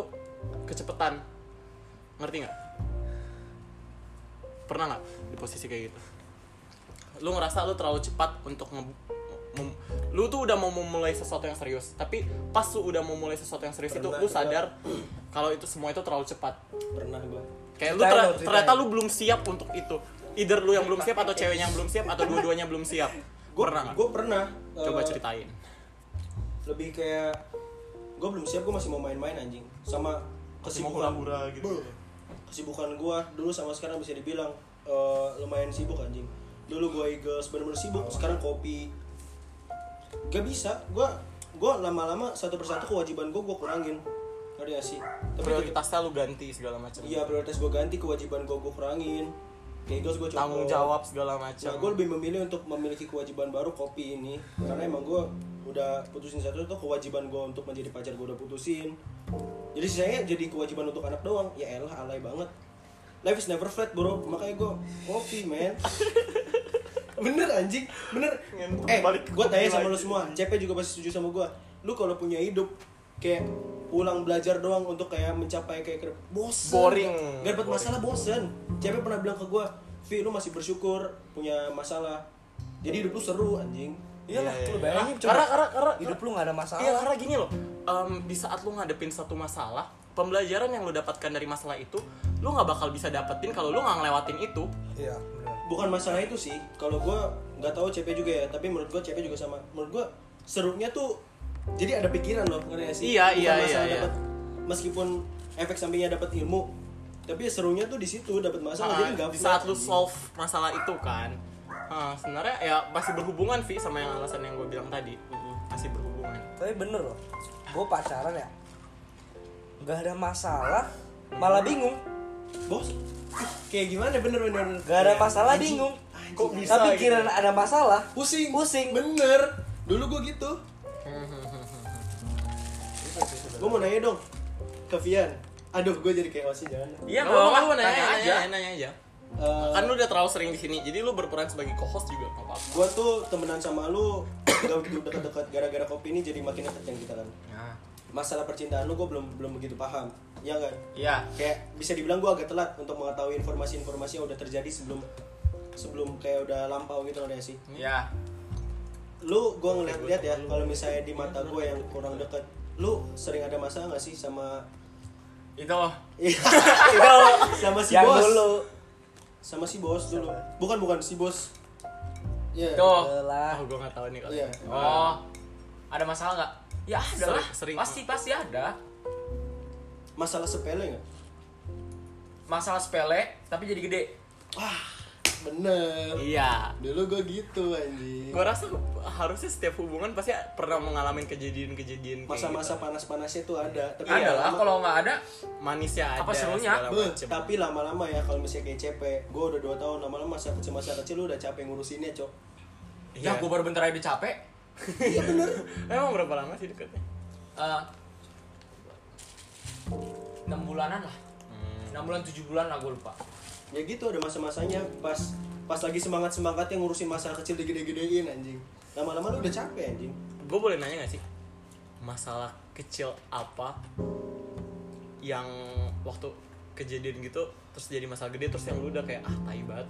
A: kecepetan ngerti nggak pernah nggak di posisi kayak gitu lu ngerasa lu terlalu cepat untuk nge mem- lu tuh udah mau memulai sesuatu yang serius tapi pas lu udah mau mulai sesuatu yang serius
C: Pernah,
A: itu lu
C: pernah.
A: sadar kalau itu semua itu terlalu cepat
C: Pernah gua.
A: kayak lu ter-
B: Ceritain dong, ceritain.
A: ternyata lu belum siap untuk itu either lu yang belum siap atau ceweknya yang belum siap atau dua-duanya belum siap
C: Gua
A: pernah nggak?
C: gua pernah eh,
A: coba ceritain
C: lebih kayak gue belum siap gue masih mau main-main anjing sama kesibukan
A: hura-hura gitu.
C: Beuh. kesibukan gue dulu sama sekarang bisa dibilang eh, lumayan sibuk anjing dulu gue Eagles bener-bener sibuk
A: Oh.
C: sekarang kopi gak bisa gue gue lama-lama satu persatu kewajiban gue gue kurangin ngerti gak sih tapi
A: prioritasnya lu ganti segala macam
C: iya prioritas gue ganti kewajiban gue gue kurangin Ke Eagles gue coba
A: tanggung jawab segala macam Iya,
C: Nah, gue lebih memilih untuk memiliki kewajiban baru kopi ini karena emang gue udah putusin satu itu kewajiban gue untuk menjadi pacar gue udah putusin. Jadi saya jadi kewajiban untuk anak doang. Ya elah alay banget. Life is never flat bro, makanya gue kopi man. bener anjing, bener.
A: Ngentuk
C: Eh,
A: balik ke
C: gue
A: kopi
C: tanya sama
A: lagi.
C: lu semua, CP juga pasti setuju sama gue. Lu kalau punya hidup kayak pulang belajar doang untuk kayak mencapai kayak kayak- bosen
A: Boring.
C: gak dapat
A: Boring.
C: masalah bosen Cewek pernah bilang ke gue Vi lu masih bersyukur punya masalah jadi hidup lu seru anjing
B: Iyalah,
A: Iya, iya.
B: lu bayangin coba.
A: Karena- karena- karena-
B: hidup lu gak ada masalah.
A: Iya karena gini loh, em, di saat lu ngadepin satu masalah, pembelajaran yang lu dapatkan dari masalah itu, lu nggak bakal bisa dapetin kalau lu nggak ngelewatin itu.
B: Iya, bener.
C: bukan masalah itu sih kalau gue nggak tahu CP juga ya tapi menurut gue CP juga sama menurut gue serunya tuh jadi ada pikiran loh ngerti gak sih
A: Iya,
C: Bukan
A: iya,
C: masalah
A: iya, iya.
C: dapat meskipun efek sampingnya dapat ilmu tapi ya serunya tuh di situ dapat masalah jadi
A: Ah,
C: nggak
A: di
C: flat,
A: saat lu
C: anjing.
A: solve masalah itu kan, Ah, sebenarnya ya masih berhubungan Vi sama yang alasan yang gue bilang tadi, masih berhubungan.
B: Tapi bener loh, gue pacaran ya, gak ada masalah, malah bingung.
C: bos kayak gimana bener bener bener.
B: Gak ada
C: Kayak,
B: masalah
C: anjing,
B: bingung.
C: kok bisa
B: Tapi
C: gitu?
B: kira ada masalah,
C: pusing
B: Pusing.
C: bener dulu gue gitu gue mau nanya dong ke Vian aduh gue jadi kayak masih jangan
A: Ya
D: Iya,
A: Nggak
D: nggak
A: apa-apa,
D: apa-apa,
A: nanya,
D: tanya
A: nanya,
D: aja.
A: nanya, nanya aja.
C: Eh,
A: Kan lu udah terlalu sering di sini, jadi lu berperan sebagai co-host juga nggak apa-apa.
C: gue tuh temenan sama lu gak begitu dekat-dekat gara-gara kopi ini jadi makin dekat yang kita kan
D: Nah,
C: masalah percintaan lu gue belum belum begitu paham ya kan
D: iya.
C: kayak bisa dibilang gue agak telat untuk mengetahui informasi-informasi yang udah terjadi sebelum sebelum kayak udah lampau gitu loh ya sih
D: Iya.
C: lu gue ngeliat-liat ya kalau misalnya di mata gue yang kurang deket lu sering ada masalah gak sih sama
D: Itu
A: Oh.
D: loh.
C: Iya. sama si
B: yang
C: bos
B: dulu.
C: sama si bos dulu bukan bukan si bos Iya
D: Tuh.
B: Lah,
A: Oh, gue nggak tahu nih kalau.
C: Iya.
D: Oh. Ada masalah nggak? Ya ada
A: Sering-
D: lah.
A: sering.
D: Pasti pasti ada.
C: masalah sepele nggak
D: Masalah sepele tapi jadi gede.
C: wah bener
A: Iya.
C: dulu gue gitu anjing
A: Gue rasa harusnya setiap hubungan pasti pernah mengalami kejadian-kejadian kayak
C: masa-masa
A: gitu.
C: panas-panasnya tuh ada tapi
A: Iya,
D: Ada lah.
C: lama-
D: Kalau nggak ada,
A: manisnya ada
D: Apa serunya?
A: segala
C: Beuh,
A: macem.
C: tapi lama-lama ya kalau misalnya kayak CP gue udah 2 tahun lama-lama masa kecil masa kecil lu udah capek ngurusinnya cok
D: ya
A: Iya.
D: gue baru bentar aja udah capek.
C: Iya bener.
A: Emang berapa lama sih deketnya?
D: Eh, enam bulanan lah
A: Hmm.
D: enam bulan tujuh bulan lah gue lupa
C: Ya gitu ada masa-masanya pas pas lagi semangat semangatnya ngurusin masalah kecil digede-gedein anjing. Lama-lama lu udah capek anjing.
A: Gue boleh nanya gak sih? Masalah kecil apa yang waktu kejadian gitu terus jadi masalah gede terus yang lu udah kayak ah tai banget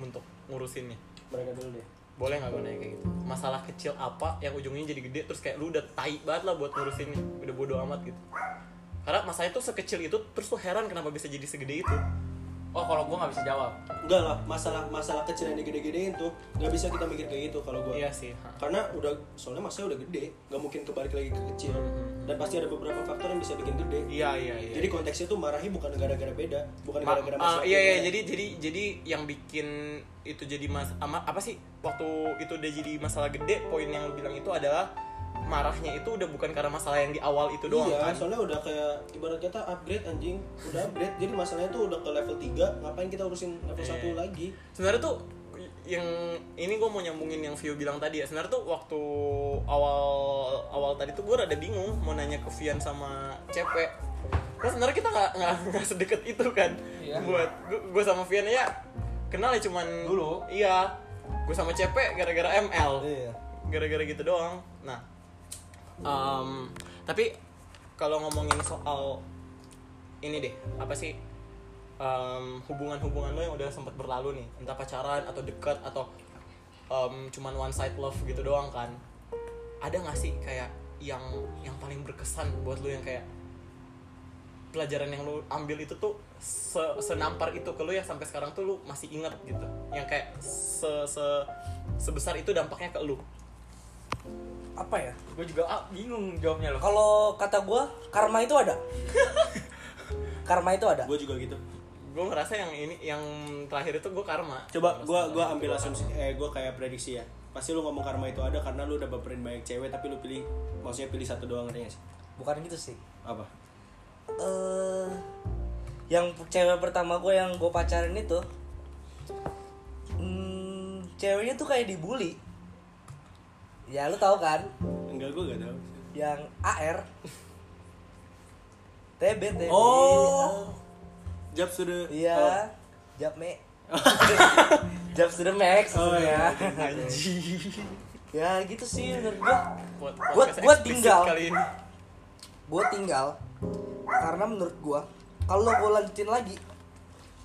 A: untuk ngurusinnya
C: Mereka dulu deh.
A: boleh nggak gue nanya kayak gitu masalah kecil apa yang ujungnya jadi gede terus kayak lu udah tai banget lah buat ngurusinnya udah bodo amat gitu karena masalah itu sekecil itu terus lu heran kenapa bisa jadi segede itu
D: oh kalau gue nggak bisa jawab
C: Enggak lah, masalah masalah kecil yang digede-gedein tuh nggak bisa kita mikir kayak gitu kalau gua.
A: iya sih ha.
C: Karena udah soalnya masanya udah gede, nggak mungkin kebalik lagi ke kecil. Dan pasti ada beberapa faktor yang bisa bikin gede.
A: Hmm. iya iya iya
C: Jadi konteksnya tuh marahi bukan gara-gara beda, bukan
A: Ma-
C: gara-gara
A: ah,
C: masalah. ya.
A: iya iya
C: beda.
A: jadi jadi jadi yang bikin itu jadi mas ama- apa sih waktu itu udah jadi masalah gede poin yang lu bilang itu adalah marahnya itu udah bukan karena masalah yang di awal itu doang
C: iya,
A: kan
C: soalnya udah kayak ibarat kata upgrade anjing, udah upgrade. jadi masalahnya tuh udah ke level 3, ngapain kita urusin level
A: Eh.
C: 1 lagi?
A: sebenarnya tuh yang ini gue mau nyambungin yang Vio bilang tadi ya sebenarnya tuh waktu awal awal tadi tuh gue rada bingung mau nanya ke Vian sama Cepe Karena sebenarnya kita nggak nggak nggak sedekat itu kan
D: Iya.
A: buat gue sama Vian ya kenal ya cuman
D: Dulu.
A: iya gue sama Cepe gara-gara ML
B: Iya.
A: gara-gara gitu doang nah em, tapi kalau ngomongin soal ini deh apa sih em, hubungan-hubungan lo yang udah sempat berlalu nih entah pacaran atau dekat atau em, cuman one side love gitu doang kan ada nggak sih kayak yang yang paling berkesan buat lo yang kayak pelajaran yang lu ambil itu tuh se- senampar itu ke lu yang sampai sekarang tuh lu masih ingat gitu yang kayak se- se- sebesar itu dampaknya ke lu
B: Apa ya?
D: gue juga ah, bingung jawabnya loh
B: Kalau kata gua, karma itu ada. karma itu ada.
C: Gue juga gitu.
A: gue ngerasa yang ini yang terakhir itu gue karma
C: Coba gua gua ambil asumsi eh gua kayak prediksi ya. Pasti lu ngomong karma itu ada karena lu udah baperin banyak cewek tapi lu pilih maksudnya pilih satu doang katanya sih.
B: Bukan gitu sih.
C: Apa?
B: eh yang cewek pertama gue yang gue pacarin itu hmm, ceweknya tuh kayak dibully ya lu tahu kan
C: Enggak gua gak tahu.
B: yang AR TB TB
C: Oh. Jab sudah
B: iya Japme Jap sudah max
C: Oh,
B: maksudnya.
C: iya.
A: anjing
B: ya gitu sih menurut gue
A: Pod-
B: Gua-
A: podcast
B: gua
A: eksplisit
B: tinggal.
A: kali ya. ini
B: gue tinggal karena menurut gue kalau gue lanjutin lagi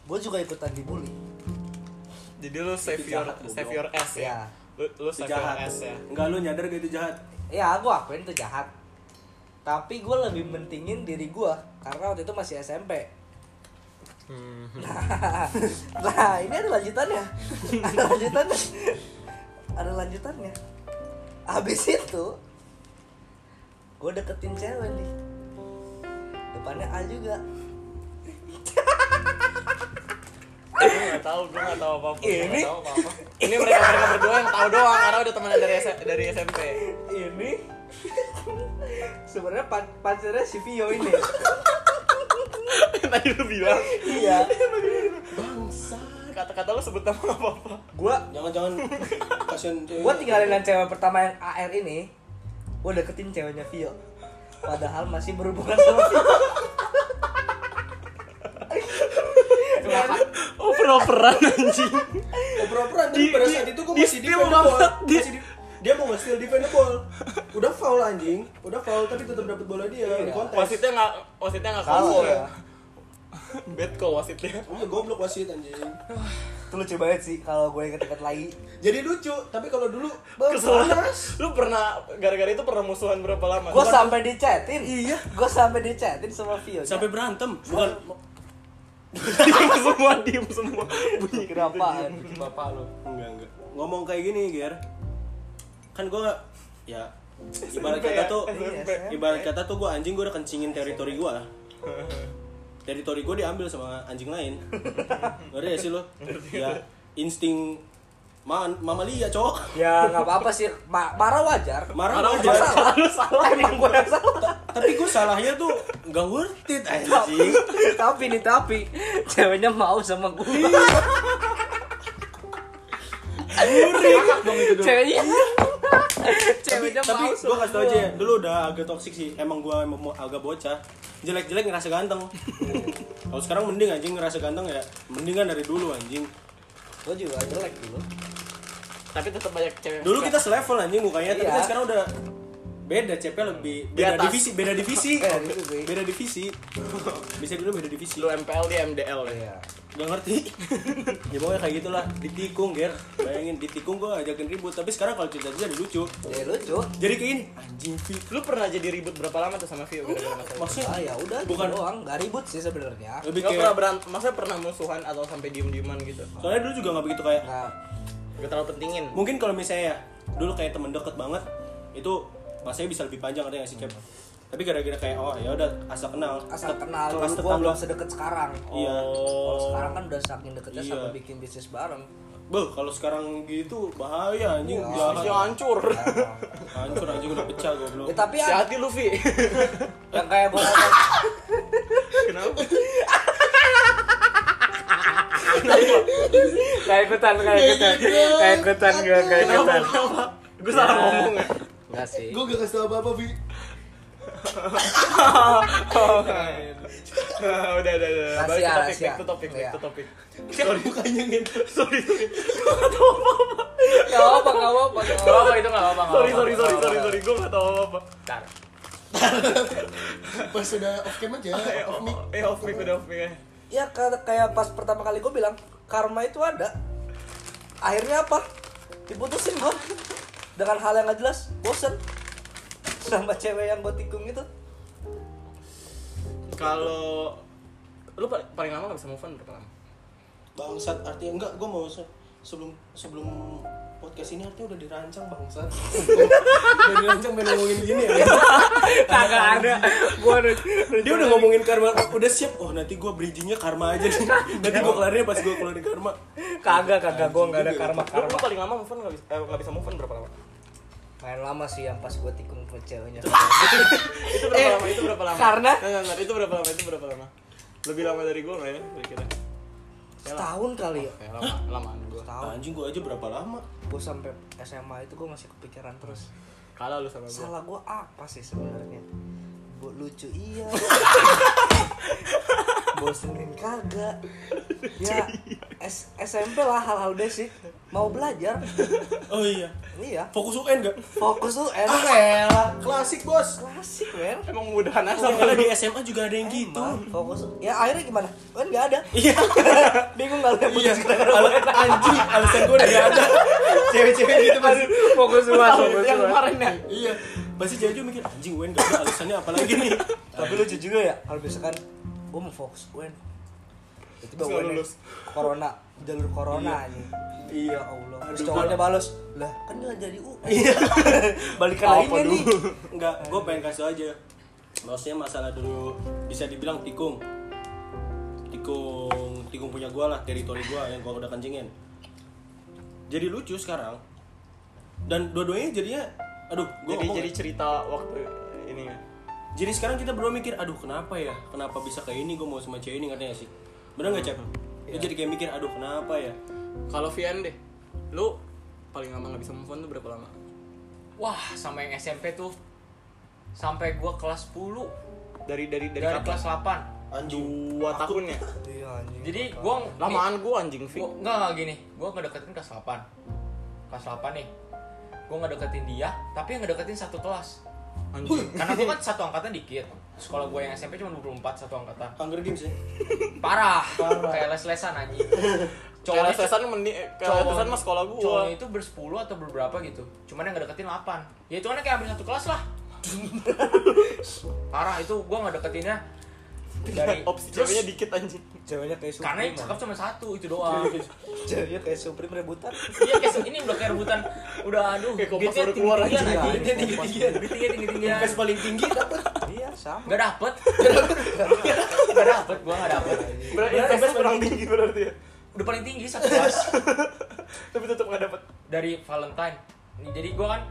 B: gue juga ikutan dibully
A: jadi lu save
C: Itu
A: your
C: jahat, goblok.
A: save your ass ya
B: Iya.
A: lu, lu
C: itu
A: save your
C: jahat.
A: ass ya
C: Enggak lu nyadar gak itu jahat?
B: ya gue akuin itu jahat tapi gue lebih mentingin diri gue karena waktu itu masih SMP
A: Hmm.
B: nah ini ada lanjutannya ada lanjutannya ada lanjutannya habis itu gue deketin cewek nih depannya A juga
A: gue nggak tahu gue nggak tahu apa apa
B: Ini-
A: apa apa ini mereka mereka berdua yang tahu doang karena udah temenan dari S- dari SMP
B: ini sebenarnya pan- pacarnya si Vio ini
A: tadi lu bilang
B: iya
A: kata-kata lu sebut nama apa apa
B: gue
C: Jangan-jangan kasihan cewek.
B: gue tinggalin dengan cewek pertama yang AR ini gue deketin ceweknya Vio padahal masih berhubungan sama Vio
A: oh peran anjing
C: Oper-operan tapi
A: Di-
C: pada
A: di-
C: saat itu gue
A: di
C: masih
A: steal
C: defendable.
A: banget, di-
C: Masih di- dia mau nge-steal defendable. Udah foul anjing, udah foul tapi tetap dapat bola dia di kontes.
A: wasitnya nggak wasitnya nggak
B: Salah
A: kamu ya
B: ya.
A: bad kok wasitnya
C: Iya, goblok wasit anjing.
B: Itu lucu banget sih kalau gue inget-inget lagi
C: Jadi lucu, tapi kalau dulu
A: kesel lu pernah gara-gara itu pernah musuhan berapa lama
B: Gue sampai dicatin Iya Gue sampai dicatin sama Vio
C: berantem. Bukan
A: diem semua diem semua bunyi
B: Kenapaan
D: bapak lo
C: enggak enggak. Ngomong kayak gini, Ger. Kan gue ya ibarat
A: SMP
C: kata
A: ya,
C: tuh
A: SMP.
C: ibarat kata tuh gue anjing gue udah kencingin teritori gue lah. Teritori gue diambil sama anjing lain. Ngerti ya sih lo? Ya insting ma mamalia cok.
B: Ya nggak apa-apa sih Ma- Marah wajar
C: Marah
A: Marah
C: wajar.
A: wajar.
B: Salah
A: Lu salah.
B: Emang gue yang salah
C: Tapi gue salahnya tuh gak worth it anjing.
B: Tapi nih tapi Ceweknya mau sama gue
D: ngakak dong itu dulu
B: Ceweknya
C: tapi
A: Ceweknya
C: tapi
A: mau
C: gue kasih tau aja ya, dulu udah agak toksik sih emang gue emang mau agak bocah jelek-jelek ngerasa ganteng kalau sekarang mending anjing ngerasa ganteng ya mendingan dari dulu anjing
B: Lo juga jelek dulu.
A: Tapi tetap banyak cewek.
C: dulu kita selevel anjing mukanya tapi
B: Iya.
C: kan sekarang udah beda CP lebih
A: Di
C: beda
A: atas.
C: divisi beda divisi
B: Beda divisi.
C: beda divisi bisa dulu beda divisi
A: lu MPL dia MDL ya.
B: Iya.
C: Gak ngerti Ya pokoknya kayak gitulah Ditikung Ger Bayangin ditikung gue ajakin ribut Tapi sekarang kalau cerita dia lucu
B: Ya lucu.
C: Jadi kayak ini Anjing Vi
A: Lu pernah jadi ribut berapa lama tuh sama Vio? gara-gara masalah?
C: Maksudnya
B: Ah ya udah
C: Bukan.
B: bukan doang, gak ribut sih sebenarnya.
C: lebih
A: Lu
C: kayak
A: pernah berantem, maksudnya pernah musuhan atau sampai diem-dieman gitu?
C: Soalnya dulu juga gak begitu kayak
B: Nah,
A: Gak terlalu pentingin.
C: Mungkin kalau misalnya ya Dulu kayak temen deket banget Itu Masanya bisa lebih panjang ada yang sih Cep Tapi gara-gara kayak Oh ya udah asal kenal
B: asal kenal
C: Kelas
B: dulu gua belum
C: tetangga
B: sedekat sekarang.
C: Iya
B: Kalau sekarang kan udah saking deketnya
C: Iya.
B: sampai bikin bisnis bareng.
C: Beuh kalau sekarang gitu Bahaya anjing
B: Iya.
A: Masih
C: Jahat
A: hancur.
C: Hancur anjing udah pecah goblok
B: ya tapi
A: Si
B: ada
A: hati lu Vi.
B: yang kayak bola
A: Kenapa?
D: Kayak ikutan, kayak ikutan. Kayak ikutan Iya. gue, kayak
A: Kenapa? Kenapa? Gue salah ngomong ya.
B: Enggak sih.
E: Gue gak kasih tau apa-apa, Vi
A: Oh, udah, udah, udah. Balik
B: Rahasia,
A: ke topik, back to
B: rahasia.
A: topik, back to
B: Iya.
A: topik.
E: Sorry, mukanya gitu
A: Sorry, sorry. Gue gak tau apa-apa.
B: Enggak apa-apa, enggak apa-apa. "Ya, nggak
D: Gak
B: apa-apa.
D: apa-apa, itu gak apa-apa. nggak
A: Sorry,
D: apa-apa.
A: sorry, sorry, sorry, sorry. Gue gak tau apa-apa.
D: Bentar.
E: Pas udah off cam aja,
A: Eh,
E: Iya, off mic
A: eh, off mic, udah off mic ya.
B: Ya ka- kayak pas pertama kali gue bilang karma itu ada. Akhirnya apa? Diputusin gue dengan hal yang gak jelas, bosen sama cewek yang gue tikung itu.
A: Kalau lu pa- paling lama gak bisa move on berapa lama?
C: Bangsat artinya enggak gue mau se- sebelum sebelum podcast ini artinya udah dirancang bangsat. udah dirancang pengen ngomongin gini ya.
D: Kagak ada. Gua udah
C: Dia udah ngomongin karma udah siap. Oh nanti gue bridgingnya karma aja nih. Nanti gue kelarinnya pas gue kelarin karma.
D: kagak kagak gua nggak ada
C: Anjing,
D: karma
A: Lu, lu
D: karma.
A: paling lama move on gak bisa, eh, nggak bisa move on berapa lama?
B: Main lama sih yang pas gue tikung ke ceweknya.
A: Itu berapa lama? Itu berapa lama?
D: karena-
A: Nggak, nggak, nggak. itu berapa lama? Itu berapa lama? Lebih lama dari gue nggak ya? Kira-kira.
B: Setahun kali ya.
A: Kayak Eh, lama, lamaan gue.
B: Setahun.
C: Anjing gue aja berapa lama?
B: Gue sampai SMA itu gue masih kepikiran terus.
A: Kalah lu sama
C: Iya.
A: gue.
B: Salah gue apa sih sebenarnya? Gue lucu iya. Bosenin kagak. Ya
C: iya.
B: S- SMP lah hal-hal basic. Mau belajar.
C: Oh iya.
B: Iya.
C: Fokus UN gak?
B: Fokus tuh
C: Ah
B: enak.
C: elah, klasik bos.
B: Klasik men.
A: Emang mudahan aja sama
C: Soalnya di SMA juga ada yang gitu.
B: Emang fokus. Ya akhirnya gimana? Kan nggak ada.
C: Iya.
B: Bingung nggak lihat
C: Iya, al- anjing, alasan gue udah gak ada Cewek-cewek gitu pasti
D: Fokus semua, fokus
A: yang
D: semua.
A: kemarin ya.
C: Iya, pasti cewek juga mikir, anjing UN gak ada alasannya apa lagi nih
B: Tapi lucu juga ya kalau misalkan gue mau fokus UN. Tiba-tiba
A: Terus nggak
B: UN
A: lulus.
B: corona, jalur corona ini. Ya
C: Iya.
B: Allah. Terus
C: Aduh,
B: cowoknya
C: gua-
B: balas, "Lah, kan enggak jadi UN."
C: Iya. Balikan
B: Apa
C: lagi nggak nih?
B: dulu?
C: Enggak, gue pengen kasih tau aja. Maksudnya masalah dulu bisa dibilang tikung. Tikung, tikung punya gue lah, teritori gue yang gue udah kencingin. Jadi lucu sekarang. Dan dua-duanya jadinya, aduh, gue
A: Jadi
C: ngomong.
A: jadi
C: Jadi,
A: cerita waktu ini ya.
C: jadi sekarang kita berdua mikir, aduh kenapa ya? Kenapa bisa kayak ini? Gue mau sama cewek ini katanya sih. Bener nggak cep? Lu jadi kayak mikir, aduh kenapa ya?
A: Kalau Vian deh, lu paling lama nggak bisa move on tuh berapa lama?
D: Wah, sama yang SMP tuh sampai gua kelas 10
A: Dari dari dari,
D: dari
A: kapan?
D: kelas 8.
A: dua tahun ya.
B: Iya anjing.
D: Jadi gua
A: Lamaan gue anjing Vi.
D: Gua, enggak, enggak gini, gue ngedeketin kelas 8 Kelas 8 nih Gue ngedeketin dia, tapi yang ngedeketin satu kelas
A: Anjing.
D: Karena gue kan satu angkatan dikit Sekolah gue yang SMP cuma 24 satu angkatan
C: Hunger Games ya?
D: Parah, kayak les-lesan anjing
A: Kalau
D: Cowoknya
A: sesan meni, kalau
D: cowok-
A: sesan mas sekolah gue.
D: Cowoknya itu bersepuluh atau berberapa gitu Cuman yang ngedeketin 8 Ya itu kan kayak hampir satu kelas lah Parah, itu gue ngedeketinnya dari
A: Opsi
D: terus,
A: Iya, ceweknya dikit anjing.
B: ceweknya kayak Supreme.
D: karena yang cakep cuma satu itu doang
A: Iya,
B: ceweknya kayak Supreme rebutan.
D: iya kayak se- ini udah kayak rebutan udah aduh
A: Kayak kompas
D: beatnya
A: baru keluar aja.
D: tinggi-tinggian anjing.
B: Iya,
D: Beatnya tinggi-tinggian.
C: Pes paling tinggi dapet
B: iya, sama.
D: nggak dapet nggak dapet gua nggak dapet
A: Berarti investasi kurang tinggi berarti ya.
D: udah paling tinggi satu kelas
A: Tapi tetap nggak dapet.
D: dari Valentine jadi gua kan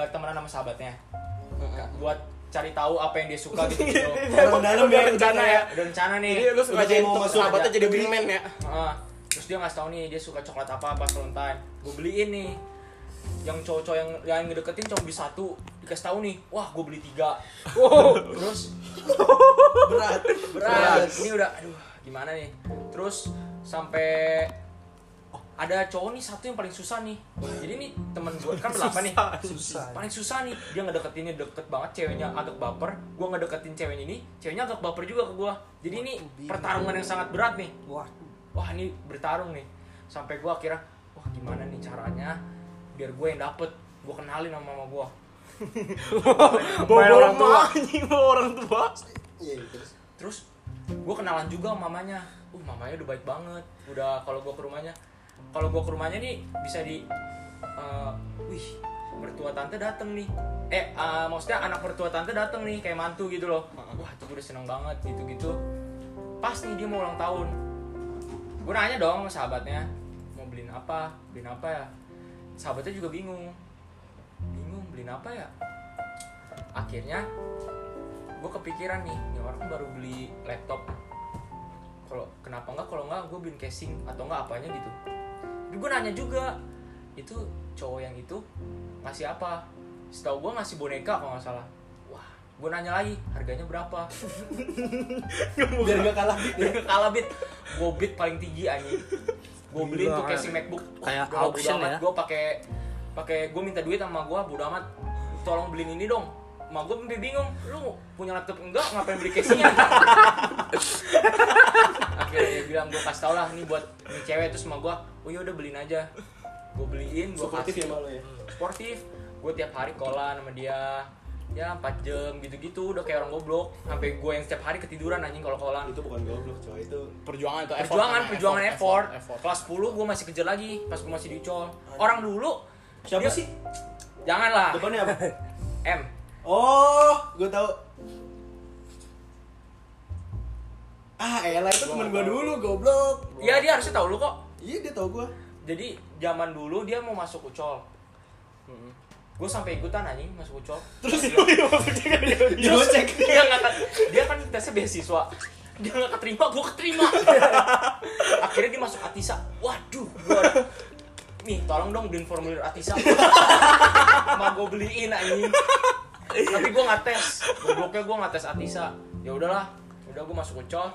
D: eh, temenan sama sahabatnya Ka- buat cari tahu apa yang dia suka gitu, -gitu.
A: dalam
C: ya,
A: rencana ya.
D: udah rencana nih
A: Jadi lu suka
C: Udah
A: jadi
C: mau
A: untuk
C: masuk.
A: sahabatnya jadi wingman ya.
D: Ah, terus dia ngasih tau nih dia suka coklat apa pas Valentine gue beliin nih yang cowok-cowok yang yang ngedeketin cowok beli satu dikasih tahu nih wah gue beli tiga wow. terus
B: berat
D: berat ini udah aduh gimana nih terus sampai oh, ada cowok nih satu yang paling susah nih jadi nih temen gue kan berapa nih
B: susah
D: paling susah nih dia ngedeketinnya deket banget ceweknya agak baper gue ngedeketin ceweknya ini ceweknya agak baper juga ke gue jadi ini pertarungan yang sangat berat nih
B: waduh
D: wah ini bertarung nih sampai gue akhirnya wah gimana nih caranya biar gue yang dapet gue kenalin sama mama gue
A: bawa
D: Main orang
A: orang
D: tua.
A: tua anjing bawa orang tua
E: Iya, terus.
D: terus gue kenalan juga sama mamanya uh mamanya udah baik banget udah kalau gue ke rumahnya kalau gue ke rumahnya nih bisa di eh, wih mertua tante dateng nih eh eh, maksudnya anak mertua tante dateng nih kayak mantu gitu loh wah itu gue udah seneng banget gitu gitu pas nih dia mau ulang tahun gue nanya dong sama sahabatnya mau beliin apa beliin apa ya sahabatnya juga bingung bingung beliin apa ya akhirnya gue kepikiran nih ini orang baru beli laptop kalau kenapa nggak kalau nggak gue beliin casing atau nggak apanya gitu gue nanya juga itu cowok yang itu ngasih apa setahu gue ngasih boneka kalau nggak salah wah gue nanya lagi harganya berapa
B: biar gak kalah
D: dia nggak kalah bit gue bid paling tinggi anjing gue beliin tuh casing macbook
A: Kayak
D: Udah lah, bodo
A: auction
D: amat.
A: ya?
D: gue pakai pakai gue minta duit sama gue bodo amat tolong beliin ini dong Ma gue mimpi bingung, lu punya laptop enggak ngapain beli casingnya? Akhirnya dia bilang gue kasih tau lah ini buat ini cewek terus sama gue, oh ya udah beliin aja. Gue beliin, gue
C: Suportif ya
D: kasih
C: malu ya.
D: sportif gue tiap hari kolan sama dia ya 4 jam gitu-gitu udah kayak orang goblok sampai gue yang setiap hari ketiduran anjing kalau kolan
C: Itu bukan goblok, coy. Itu
A: perjuangan itu effort
D: perjuangan
A: Karena
D: perjuangan effort,
A: effort, effort.
D: kelas 10 gue masih kejar lagi pas gue masih di ucol orang dulu
C: siapa
D: dia-
C: sih?
D: janganlah
C: Depannya apa?
D: M
C: Oh, gue tahu. Ah, elah itu temen gue dulu, goblok.
D: ya dia harusnya tahu lu kok
C: Iya, dia tahu gue.
D: jadi zaman dulu dia mau masuk ucol gue sampai ikutan anjing masuk ucol terus
C: Gocek.
D: dia nggak ket- dia kan tesnya beasiswa dia nggak keterima gue keterima akhirnya dia masuk Atisa waduh gua udah- nih tolong dong beliin formulir Atisa mau gue beliin anjing tapi gue nggak tes gobloknya gue nggak tes Atisa ya udahlah udah gue masuk ucol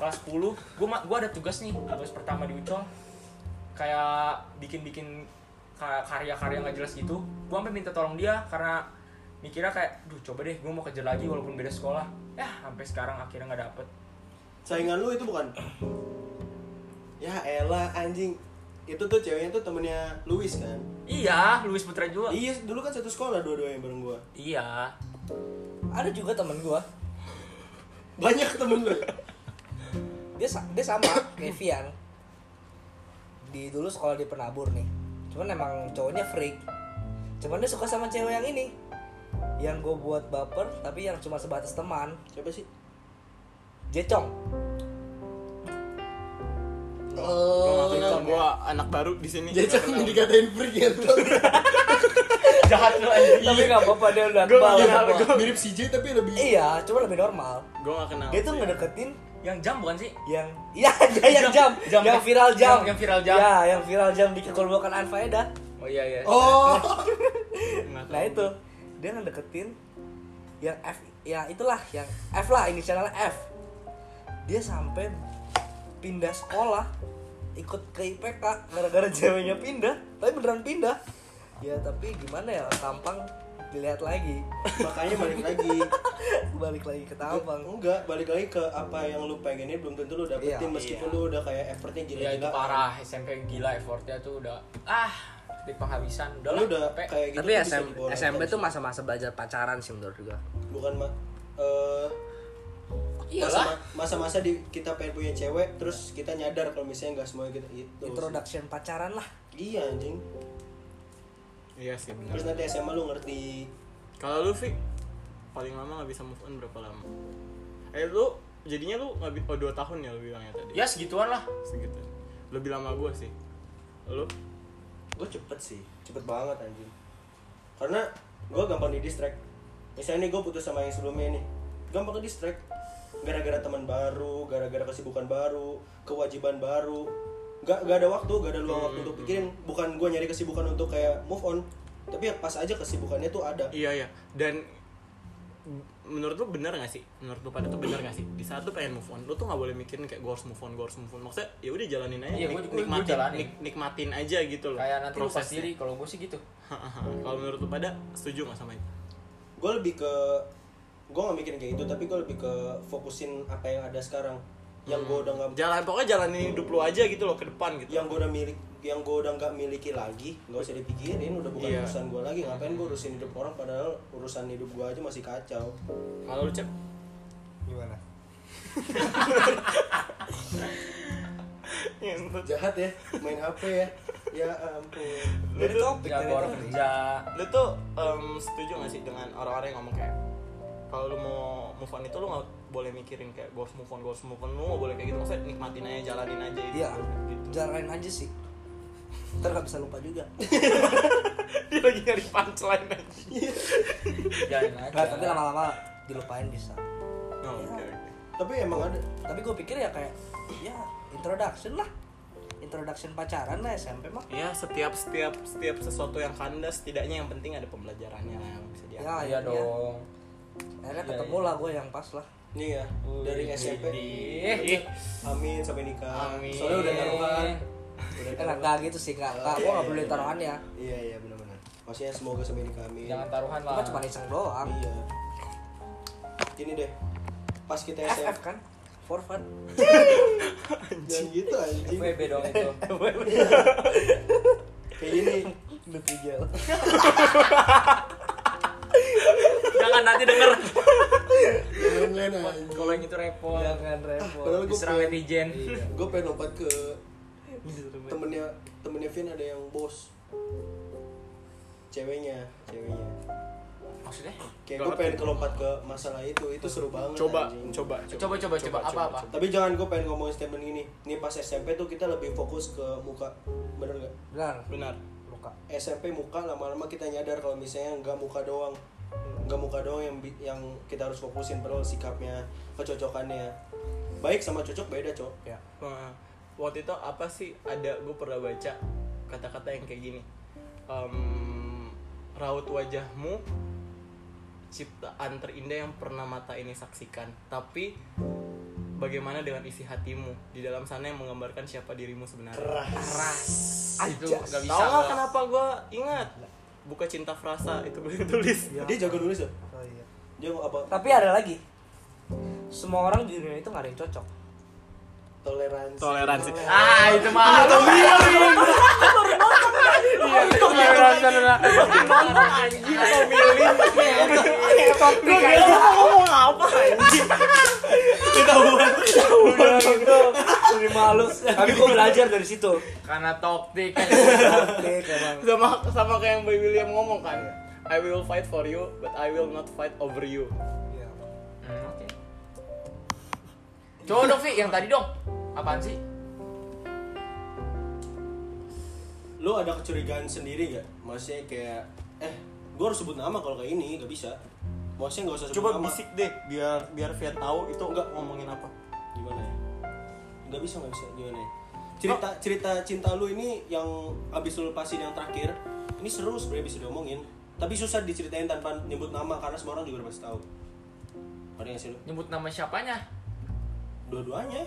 D: kelas 10 gue gua ada tugas nih tugas pertama di ucol kayak bikin-bikin ka- karya-karya nggak jelas gitu gue sampai minta tolong dia karena mikirnya kayak duh coba deh gue mau kerja lagi walaupun beda sekolah ya sampai sekarang akhirnya nggak dapet
C: Saingan lu itu bukan. Ya elah anjing. Itu tuh ceweknya tuh temennya Luis kan.
D: iya Luis Putra juga
C: Iya, dulu kan satu sekolah dua-duanya bareng gue.
D: iya
B: ada juga temen gua
C: Banyak temen lu.
B: dia sa- dia sama kayak Vian di dulu sekolah di penabur nih cuman emang cowoknya freak cuman dia suka sama cewek yang ini yang gue buat baper tapi yang cuma sebatas teman
C: Siapa sih?
B: jecong
A: Gua
B: oh
A: nggak kenal, gua anak baru di sini
E: Jecak dikatain freak ya.
D: jahat lu anjing
B: tapi nggak apa-apa dia udah
A: Gua
B: tebal
E: Iya,
A: kenal,
B: sama gua.
E: Mirip CJ tapi lebih
B: iya cuma lebih normal
A: gue gak kenal
B: dia tuh ngedeketin
D: yang jam bukan sih
B: yang iya dia yang jam,
D: Jam- jam-
B: yang viral jam
D: yang- yang viral jam.
B: ya yang viral jam di kekolbokan Anfaedah
D: oh iya iya
E: Oh,
B: Nah itu dia ngedeketin yang F ya itulah yang F lah inisialnya F. Dia sampai pindah sekolah ikut ke IPK gara-gara ceweknya pindah, tapi beneran pindah. Ya tapi gimana ya tampang dilihat lagi
C: Makanya balik lagi.
B: balik lagi ke tampang.
C: Enggak, balik lagi ke apa yang lu pengennya belum tentu lu dapetin
B: Iya,
C: meskipun
A: iya.
C: lu udah kayak effortnya
D: ya itu
C: gila-gila.
D: parah SMP gila effortnya tuh udah ah di penghabisan udah
C: Lu
D: lah
C: udah
D: capek.
C: kayak gitu
F: Tapi
C: tuh bisa
F: SM,
C: dibawa lagi.
F: SMP tuh masa-masa belajar pacaran sih menurut gua.
C: bukan ma eh,
D: iyalah
C: masa- masa-masa di kita pengen punya cewek terus kita nyadar kalau misalnya nggak semuanya kita itu
B: Introduction pacaran lah.
C: iya anjing
A: iya sih benar
C: terus nanti SMA lu ngerti
A: kalau lu Vi paling lama nggak bisa move on berapa lama eh lu jadinya lu nggak bi- oh dua tahun ya lu bilangnya tadi
D: ya segituan lah
A: segitu lebih lama gue sih lu
C: gue cepet sih cepet banget anjing karena gue gampang di distract misalnya nih gue putus sama yang sebelumnya nih gampang ke distract gara-gara teman baru gara-gara kesibukan baru kewajiban baru gak, gak ada waktu gak ada luang waktu untuk pikirin bukan gue nyari kesibukan untuk kayak move on tapi ya pas aja kesibukannya tuh ada
A: Iya iya. Dan menurut lu bener gak sih? Menurut lu pada tuh bener gak sih? Di saat lu pengen move on, lu tuh gak boleh mikirin kayak gue harus move on, gue harus move on. Maksudnya ya udah jalanin aja,
D: Iya,
A: nik-
D: gua- gua- gua
A: nikmatin,
D: jalanin.
A: nik- nikmatin aja gitu loh.
D: kayak nanti lupa
A: prosesnya.
D: diri kalau gue sih gitu
A: Kalau menurut lu pada setuju gak sama itu?
C: gue lebih ke gue gak mikirin kayak gitu tapi gue lebih ke fokusin apa yang ada sekarang yang gue udah gak
A: Jalan pokoknya jalanin hidup lu aja gitu loh ke depan gitu.
C: yang gue udah milik yang gue udah nggak miliki lagi nggak usah dipikirin udah bukan
A: Iya.
C: urusan gue lagi ngapain gue urusin hidup orang padahal urusan hidup gue aja masih kacau
A: Kalau lu cep,
E: Gimana?
C: jahat ya main hp ya ya ampun
B: Dari
A: Oh,
B: topik
D: tinggal
B: dari
D: gue Ya, orang
B: topik.
D: kerja
A: lu tuh em, setuju gak sih dengan orang-orang yang ngomong kayak kalau lu mau move on itu lu gak boleh mikirin kayak gue harus move on, gue harus move on, lu gak boleh kayak gitu maksudnya nikmatin aja, jalanin aja gitu.
B: Iya,
A: gitu.
B: jalanin aja sih. Ntar gak bisa lupa juga.
A: dia lagi nyari punchline aja
B: Iya.
D: jalanin aja
B: Nggak, tapi lama-lama dilupain bisa.
A: oh, oke, oke.
C: tapi emang ada
B: Tapi gue pikir ya kayak, ya introduction lah. Introduction pacaran lah SMP mah.
A: ya setiap setiap setiap sesuatu yang kandas setidaknya yang penting ada pembelajarannya lah yang bisa
B: Ya,
A: diambil
D: iya dong
B: Akhirnya
D: Iya,
B: ketemu
D: iya.
B: lah gue yang pas lah.
C: nih ya dari SMP
D: Widih.
C: amin sampai nikah
A: Amin.
C: soalnya udah taruhan udah
B: Eh,
C: taruhan.
B: nggak gitu sih, nggak nggak Gue nggak boleh taruhan ya.
C: iya iya benar-benar maksudnya semoga sampai nikah amin
D: jangan taruhan lah
B: Gue cuma iseng doang.
C: iya gini deh pas kita SMP
B: FF kan? For fun.
C: jangan gitu anjing
D: FWB dong itu
C: kayak gini
B: Udah tiga lah.
D: jangan nanti denger
E: Lain-lain anjing.
D: kalau yang itu repot
B: Jangan repot.
C: padahal gue
D: Iya. diserang netizen
C: gue pengen lompat ke temennya temennya Vin ada yang bos ceweknya ceweknya
D: maksudnya
C: kayak gue pengen kelompat ke masalah itu itu seru banget
A: coba,
C: anjing.
A: coba
D: Coba, coba, coba. Apa, apa?
A: coba.
C: tapi jangan gue pengen ngomongin statement gini nih pas SMP tuh kita lebih fokus ke muka bener nggak
B: Benar.
A: benar
B: Luka.
C: SMP muka lama-lama kita nyadar kalau misalnya nggak muka doang nggak muka doang yang bi- yang kita harus fokusin perlu sikapnya kecocokannya baik sama cocok beda cok
B: Ya.
A: Wah, waktu itu apa sih ada gue pernah baca kata-kata yang kayak gini Em, raut wajahmu ciptaan terindah yang pernah mata ini saksikan tapi bagaimana dengan isi hatimu di dalam sana yang menggambarkan siapa dirimu sebenarnya
D: itu gak
A: Tahu
D: bisa
A: nggak
D: gua.
A: kenapa gue ingat Iya. buka cinta frasa itu gue tulis.
C: dia jago nulis ya
B: Oh iya.
C: dia apa
B: Tapi ada lagi. Semua orang di dunia itu nggak ada yang cocok.
C: toleransi
A: Toleransi.
D: ah itu mah anatomi itu
B: Topik aja.
A: ngomong apa?
B: Udah gitu. Jadi malu. Tapi gue belajar dari situ.
D: karena Hmm, topik
B: Topik emang.
A: Sama sama kayak yang Boy William ngomong kan. I will fight for you, but I will not fight over you.
B: Iya.
D: coba dong Vi yang tadi dong apaan sih
C: lu ada kecurigaan sendiri gak maksudnya kayak eh gue harus sebut nama kalau kayak ini gak bisa maksudnya gak usah sebut
A: Coba
C: nama
A: bisik deh, biar biar Fiat tahu itu enggak ngomongin apa.
C: gimana ya nggak bisa nggak bisa gimana ya cerita cerita cinta lu ini yang abis lu lepasin yang terakhir ini seru sebenarnya bisa diomongin tapi susah diceritain tanpa nyebut nama karena semua orang juga udah pasti tahu ada yang sih lu
D: nyebut nama siapanya
C: dua-duanya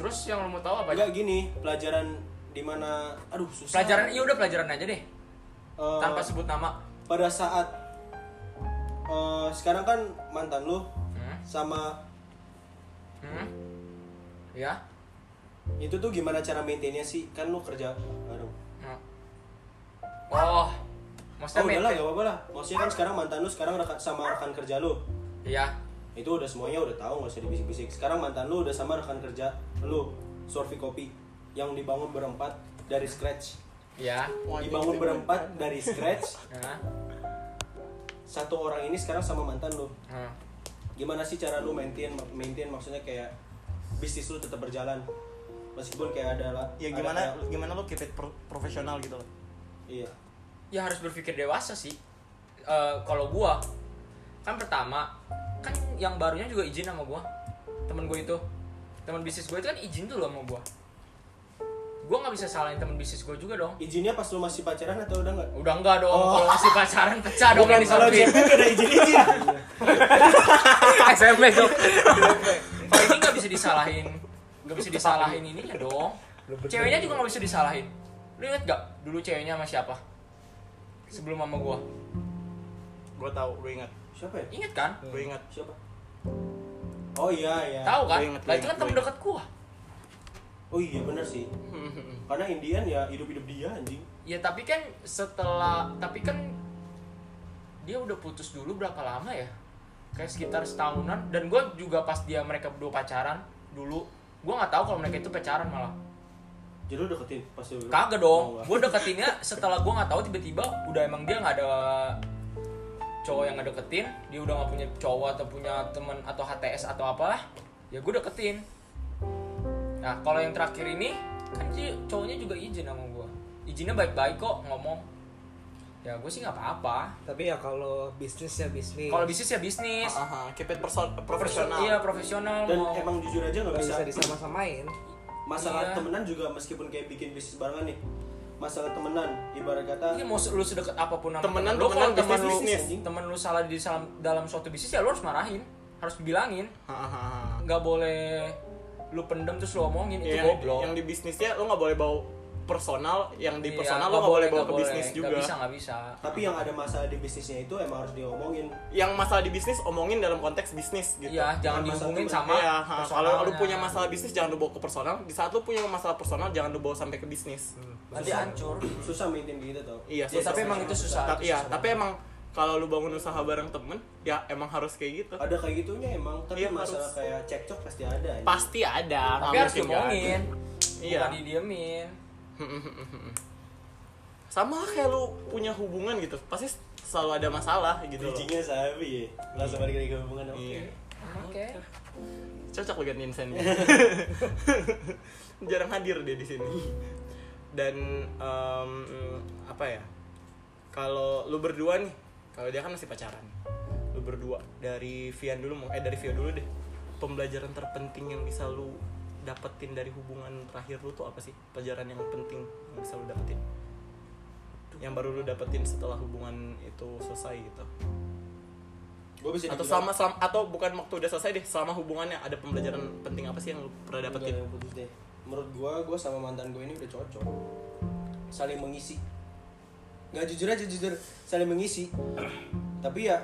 D: terus yang lo mau tahu apa
C: agak gini pelajaran dimana aduh susah
D: pelajaran iya udah pelajaran aja deh
C: Eh,
D: tanpa sebut nama
C: pada saat eh, sekarang kan mantan lu
D: hmm?
C: sama
D: Hmm? ya
C: itu tuh gimana cara maintainnya sih kan lu kerja aduh
D: Hmm.
C: oh
D: oh maksudnya
C: udah lah
D: maintain-
C: gak apa-apa lah maksudnya kan sekarang mantan lu sekarang rekan, sama rekan kerja lu
D: Iya.
C: itu udah semuanya udah tahu nggak usah dibisik-bisik sekarang mantan lu udah sama rekan kerja lu survei kopi yang dibangun berempat dari scratch
D: Iya.
C: dibangun berempat dari scratch
D: Hah?
C: satu orang ini sekarang sama mantan lu
D: Hmm.
C: gimana sih cara lu maintain maintain maksudnya kayak bisnis lu tetap berjalan meskipun kayak ada lah
A: Ya
C: ada
A: gimana
C: kayak-
A: gimana lo keep it pro- profesional gitu loh.
C: iya
D: ya harus berpikir dewasa sih Eh, kalau gua kan pertama kan yang barunya juga izin sama gua temen gua itu teman bisnis gua itu kan izin dulu sama gua nggak bisa salahin teman bisnis gue juga dong
C: Izinnya pas lu masih pacaran atau udah enggak?
D: udah enggak dong kalau masih pacaran pecah
C: Oh.
D: dong
C: Bukan
D: ini
C: kalau
D: Sophie.
C: cewek ada izin-izin.
F: SMP dong.
D: Kalau ini nggak bisa disalahin nggak bisa disalahin ininya dong ceweknya juga nggak bisa disalahin lu inget gak dulu ceweknya sama siapa sebelum mama gua
A: Gue tahu, gue ingat.
C: Siapa ya?
D: inget kan
A: Gue ingat.
C: Siapa? Oh iya iya.
D: tahu kan
A: Gua inget, gua
D: lah itu kan
A: inget,
D: temen
A: gua
D: dekat gua
C: Oh iya benar sih. Karena Indian ya hidup-hidup dia anjing.
D: ya tapi kan setelah tapi kan dia udah putus dulu berapa lama ya kayak sekitar setahunan dan gue juga pas dia mereka berdua pacaran dulu gue nggak tahu kalau mereka itu pacaran malah
C: Jadi lu deketin pas lu. Oh,
D: kagak dong
C: enggak.
D: gue deketinnya setelah gue nggak tahu tiba-tiba udah emang dia nggak ada cowok yang ngedeketin dia udah nggak punya cowok atau punya temen atau HTS atau apalah ya gue deketin nah kalau yang terakhir ini kan dia- cowoknya juga izin sama gue izinnya baik-baik kok ngomong ya gue sih nggak apa-apa
B: tapi ya kalau bisnisnya bisnis
D: kalau bisnis ya bisnis
A: Aha, keep it perso- Ah, profesional.
D: iya profesional
C: Dan
D: mau
C: emang jujur aja nggak
B: nggak bisa
C: bisa.
B: disama-samain
C: Masalah
D: Iya.
C: temenan juga meskipun kayak bikin bisnis barengan nih. Masalah temenan ibarat kata
D: Iya, mau se- lu sedekat apapun sama
A: Temenan,
D: temen lu kalau
A: temenan,
D: temen lu
A: bisnis, bisnis,
C: anjing.
D: temen lu salah di dalam, dalam suatu bisnis ya lu harus marahin harus dibilangin
A: Hahaha.
D: nggak boleh lu pendem terus lu omongin itu
A: yang,
D: goblok
A: Iya, yang di bisnisnya lo nggak boleh bawa personal, yang di
D: Iya,
A: personal lo nggak boleh bawa
D: nggak
A: ke bisnis
D: Nggak
A: juga.
D: bisa nggak bisa
C: tapi yang ada masalah di bisnisnya itu emang harus diomongin.
A: Yang masalah di bisnis omongin dalam konteks bisnis gitu.
D: iya jangan
C: Bukan masalah
D: dihubungin
C: temen.
D: sama
A: Iya, ha, kalau lu
D: personalnya.
A: punya masalah bisnis jangan lu bawa ke personal. Di saat lu punya masalah personal jangan lu bawa sampai ke bisnis.
D: nanti hancur
C: Susah meeting gitu tau.
A: Iya,
D: Ya, tapi emang itu susah,
A: Tapi
D: itu
A: ya,
D: susah
A: tapi emang kalau lu bangun usaha bareng temen, ya emang harus kayak gitu.
C: Ada kayak gitunya emang, tapi
A: Iya, harus.
C: masalah kayak cekcok pasti ada. anjing.
A: Pasti ada.
D: tapi
A: nggak
D: harus
A: mungkin nggak ada.
D: diomongin
A: Iya.
D: bukan didiemin
A: Sama lah kayak lu punya hubungan gitu, pasti selalu ada masalah gitu. loh.
C: Bridgingnya sabi ya. Langsung balik lagi ke hubungan oke.
A: Iya.
D: oke
A: cocok lo gantiin Sandy jarang hadir dia di sini dan em, apa ya kalau lu berdua nih kalau dia kan masih pacaran lu berdua dari Vian dulu mau eh dari Vian dulu deh pembelajaran terpenting yang bisa lu dapetin dari hubungan terakhir lu tuh apa sih pelajaran yang penting yang bisa lu dapetin yang baru lu dapetin setelah hubungan itu selesai gitu
C: Gue bisa
A: atau
C: dibilang-
A: selama, selama- atau bukan waktu udah selesai deh selama hubungannya ada pembelajaran
C: Oh.
A: penting apa sih yang lu pernah
C: Enggak,
A: dapetin
C: yang putus deh. Menurut gua, gua sama mantan gua ini udah cocok. Saling mengisi. Nggak jujur aja jujur, saling mengisi. Tapi ya,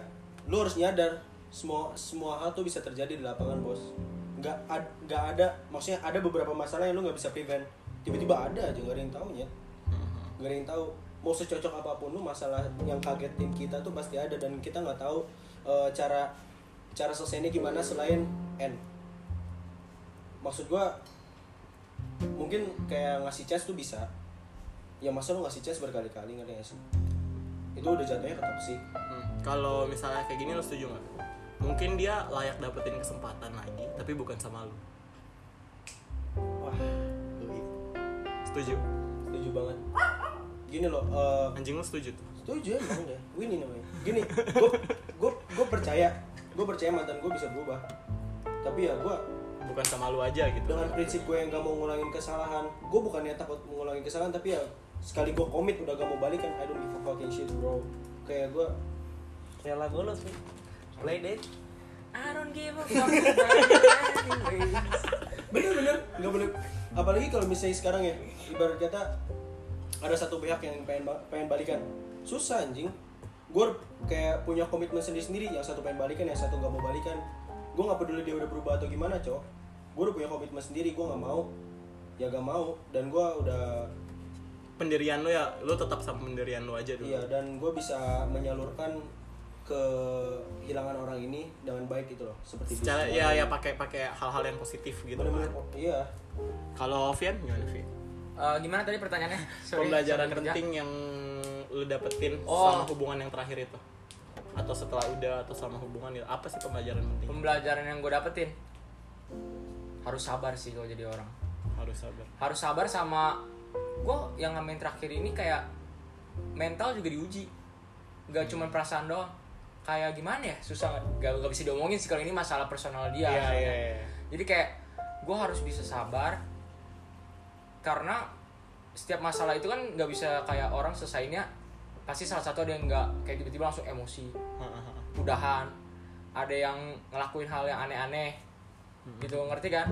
C: lu harus nyadar semua semua hal tuh bisa terjadi di lapangan bos. Nggak ad- nggak ada, maksudnya ada beberapa masalah yang lu nggak bisa prevent. Tiba-tiba ada aja nggak ada yang tahu ya.
A: Mm-hmm.
C: Nggak ada yang tahu. Mau secocok apapun lu masalah yang kagetin kita tuh pasti ada dan kita nggak tahu eh, cara cara selesainya gimana selain end maksud gua mungkin kayak ngasih chance tuh bisa ya masa lu ngasih chance berkali-kali ngerti gak sih itu udah jatuhnya ke toxic
A: Hmm, kalau misalnya kayak gini lu setuju nggak mungkin dia layak dapetin kesempatan lagi tapi bukan sama lu
C: wah doi.
A: setuju
C: setuju banget gini loh eh,
A: anjing lu setuju tuh
C: setuju ya emang deh win ini namanya gini gue gue percaya gue percaya mantan gue bisa berubah tapi ya gue
A: bukan sama lu aja gitu
C: dengan prinsip gue yang gak mau ngulangin kesalahan gue bukannya takut mengulangi kesalahan tapi ya sekali gue komit udah gak mau balikan I don't give a fucking shit bro kayak gue
B: rela bolos sih play date
D: I don't give a fuck about anyways.
C: bener-bener nggak boleh apalagi kalau misalnya sekarang ya ibarat kata ada satu pihak yang pengen ba- pengen balikan susah anjing gue kayak punya komitmen sendiri sendiri yang satu pengen balikan yang satu nggak mau balikan gue nggak peduli dia udah berubah atau gimana cok gue udah punya komitmen sendiri gue nggak mau ya gak mau dan gue udah
A: pendirian lu ya lu tetap sama pendirian lu aja dulu
C: iya dan gue bisa menyalurkan kehilangan orang ini dengan baik gitu loh seperti
A: secara
C: bisnis.
A: ya ya pakai pakai hal-hal yang positif gitu
C: Bener-bener,
A: kan
C: iya
A: kalau Vian gimana Vian
D: Eh, gimana tadi pertanyaannya Sorry,
A: pembelajaran
D: sorry, kerja.
A: penting yang lu dapetin
D: Oh.
A: sama hubungan yang terakhir itu atau setelah udah atau sama hubungan itu apa sih pembelajaran penting
D: pembelajaran yang gue dapetin harus sabar sih kalau jadi orang
A: harus sabar
D: harus sabar sama gue yang ngamen terakhir ini kayak mental juga diuji nggak cuma perasaan doang kayak gimana ya susah nggak nggak bisa diomongin sih kalau ini masalah personal dia
A: Iya,
D: soalnya.
A: iya, iya.
D: jadi kayak gue harus bisa sabar karena setiap masalah itu kan nggak bisa kayak orang selesainya pasti salah satu ada yang nggak kayak tiba-tiba langsung emosi udahan ada yang ngelakuin hal yang aneh-aneh
A: Hmm.
D: gitu ngerti kan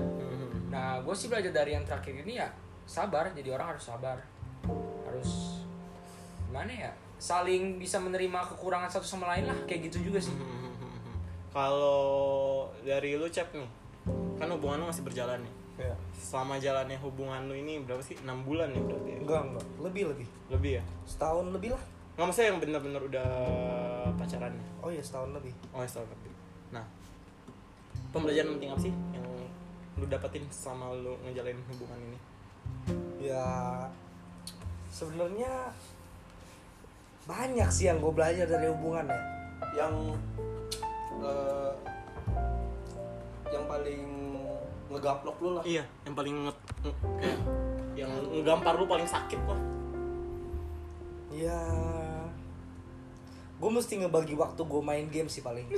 D: nah gue sih belajar dari yang terakhir ini ya sabar jadi orang harus sabar harus gimana ya saling bisa menerima kekurangan satu sama lain lah kayak gitu juga sih
A: Kalau dari lu cep nih, kan hubungan lu masih berjalan nih.
B: Iya.
A: Selama jalannya hubungan lu ini berapa sih? 6 bulan ya berarti? ya?
B: enggak enggak lebih lebih
A: Lebih ya?
B: setahun lebih lah
A: Nggak maksudnya yang bener-bener udah pacaran ya?
B: oh iya setahun lebih
A: Oh, ya, setahun lebih. Nah, pembelajaran penting apa sih yang lu dapetin selama lu ngejalanin hubungan ini?
B: ya sebenarnya banyak sih yang gue belajar dari hubungan ya
C: yang eh, yang paling ngegaplok lu lah
A: Iya, yang paling nge- nge- kayak yang ngegampar lu paling sakit lah.
B: ya gue mesti ngebagi waktu gue main game sih paling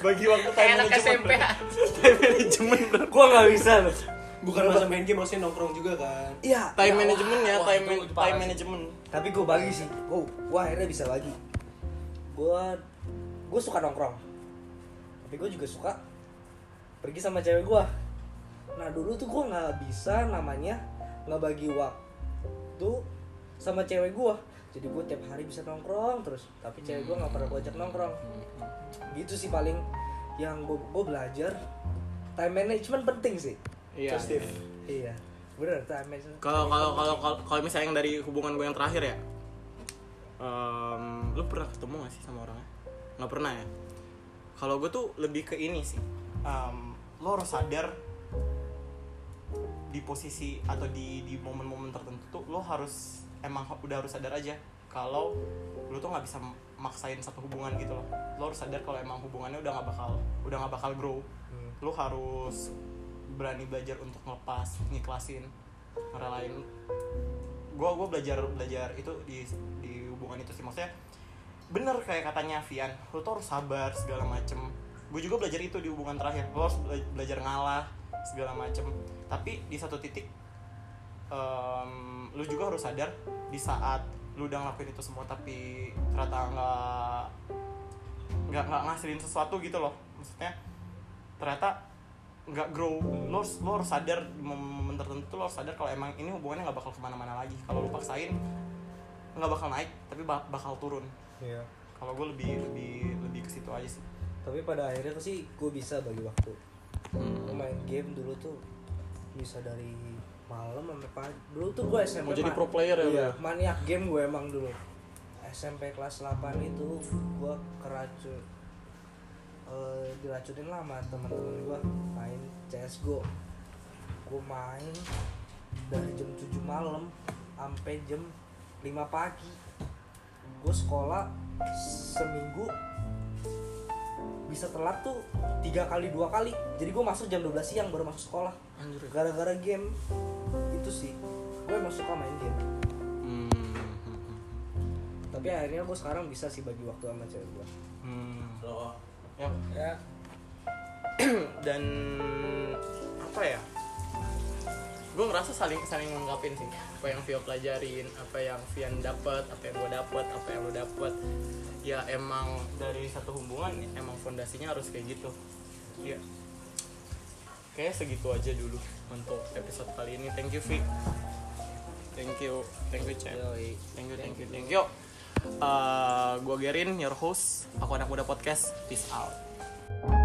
A: Bagi waktu time
D: Kayak anak
A: management.
D: SMP.
A: berarti. Time management berarti.
B: gue nggak bisa loh
C: bukan masa main game maksudnya nongkrong juga kan
B: iya
A: Time
B: ya,
A: management ya,
D: wah,
A: time
D: itu
A: man-
D: parah
A: time
D: sih.
A: management.
B: tapi gue bagi sih gue gue akhirnya bisa bagi gue gue suka nongkrong tapi gue juga suka pergi sama cewek gue nah dulu tuh gue nggak bisa namanya nggak bagi waktu sama cewek gue jadi gue tiap hari bisa nongkrong terus tapi cewek gue nggak pernah gue ajak nongkrong gitu sih paling yang gue belajar time management penting sih
A: Iya.
C: Positif.
B: iya bener time management
A: Kalau kalau kalau kalau- kalau misalnya yang dari hubungan gue yang terakhir ya, em, lu pernah ketemu gak sih sama orangnya? Nggak pernah ya. Kalau gue tuh lebih ke ini sih, em, lo harus sadar di posisi atau di di momen-momen tertentu tuh lo harus emang udah harus sadar aja kalau lo tuh nggak bisa maksain satu hubungan gitu loh lo harus sadar kalau emang hubungannya udah nggak bakal udah nggak bakal grow lo harus berani belajar untuk ngelepas ngiklasin ngerelain gue gue belajar belajar itu di di hubungan itu sih maksudnya bener kayak katanya Vian lo tuh harus sabar segala macem gue juga belajar itu di hubungan terakhir lo harus bela- belajar ngalah segala macem tapi di satu titik em, lu juga harus sadar di saat lu udah ngelakuin itu semua tapi ternyata nggak nggak nggak ngasilin sesuatu gitu loh maksudnya ternyata nggak grow lo harus, lo harus sadar di momen tertentu lo harus sadar kalau emang ini hubungannya nggak bakal kemana-mana lagi kalau lu paksain nggak bakal naik tapi ba- bakal turun
B: Iya.
A: kalau gue lebih lebih lebih ke situ aja sih
B: tapi pada akhirnya tuh sih gue bisa bagi waktu Gua
A: Hmm.
B: main game dulu tuh bisa dari malam sampai pagi dulu tuh gue SMP
A: Mau jadi
B: ma-
A: pro player ya,
B: iya,
A: Bro?
B: maniak game gue emang dulu SMP kelas 8 itu gue keracun eh, diracunin lah sama teman-teman gue main CSGO gue main dari jam 7 malam sampai jam 5 pagi gue sekolah seminggu bisa telat tuh tiga kali dua kali jadi gue masuk jam 12 siang baru masuk sekolah gara-gara game itu sih gue emang suka main game tapi akhirnya gue sekarang bisa sih bagi waktu sama cewek gue
A: Hmm.
C: Loh,
A: Ya. Dan apa ya? Gue ngerasa saling saling lengkapin sih. Apa yang Vio pelajarin, apa yang Vian dapat, apa yang gue dapat, apa yang lo dapat. Ya emang dari satu hubungan emang fondasinya harus kayak gitu. Iya. Kayaknya segitu aja dulu untuk episode kali ini. Thank you Vi. Thank you, thank you Cep. Thank you, thank you, thank you. Uh, Eh, gue Gerin, your host. Aku anak muda podcast. Peace out.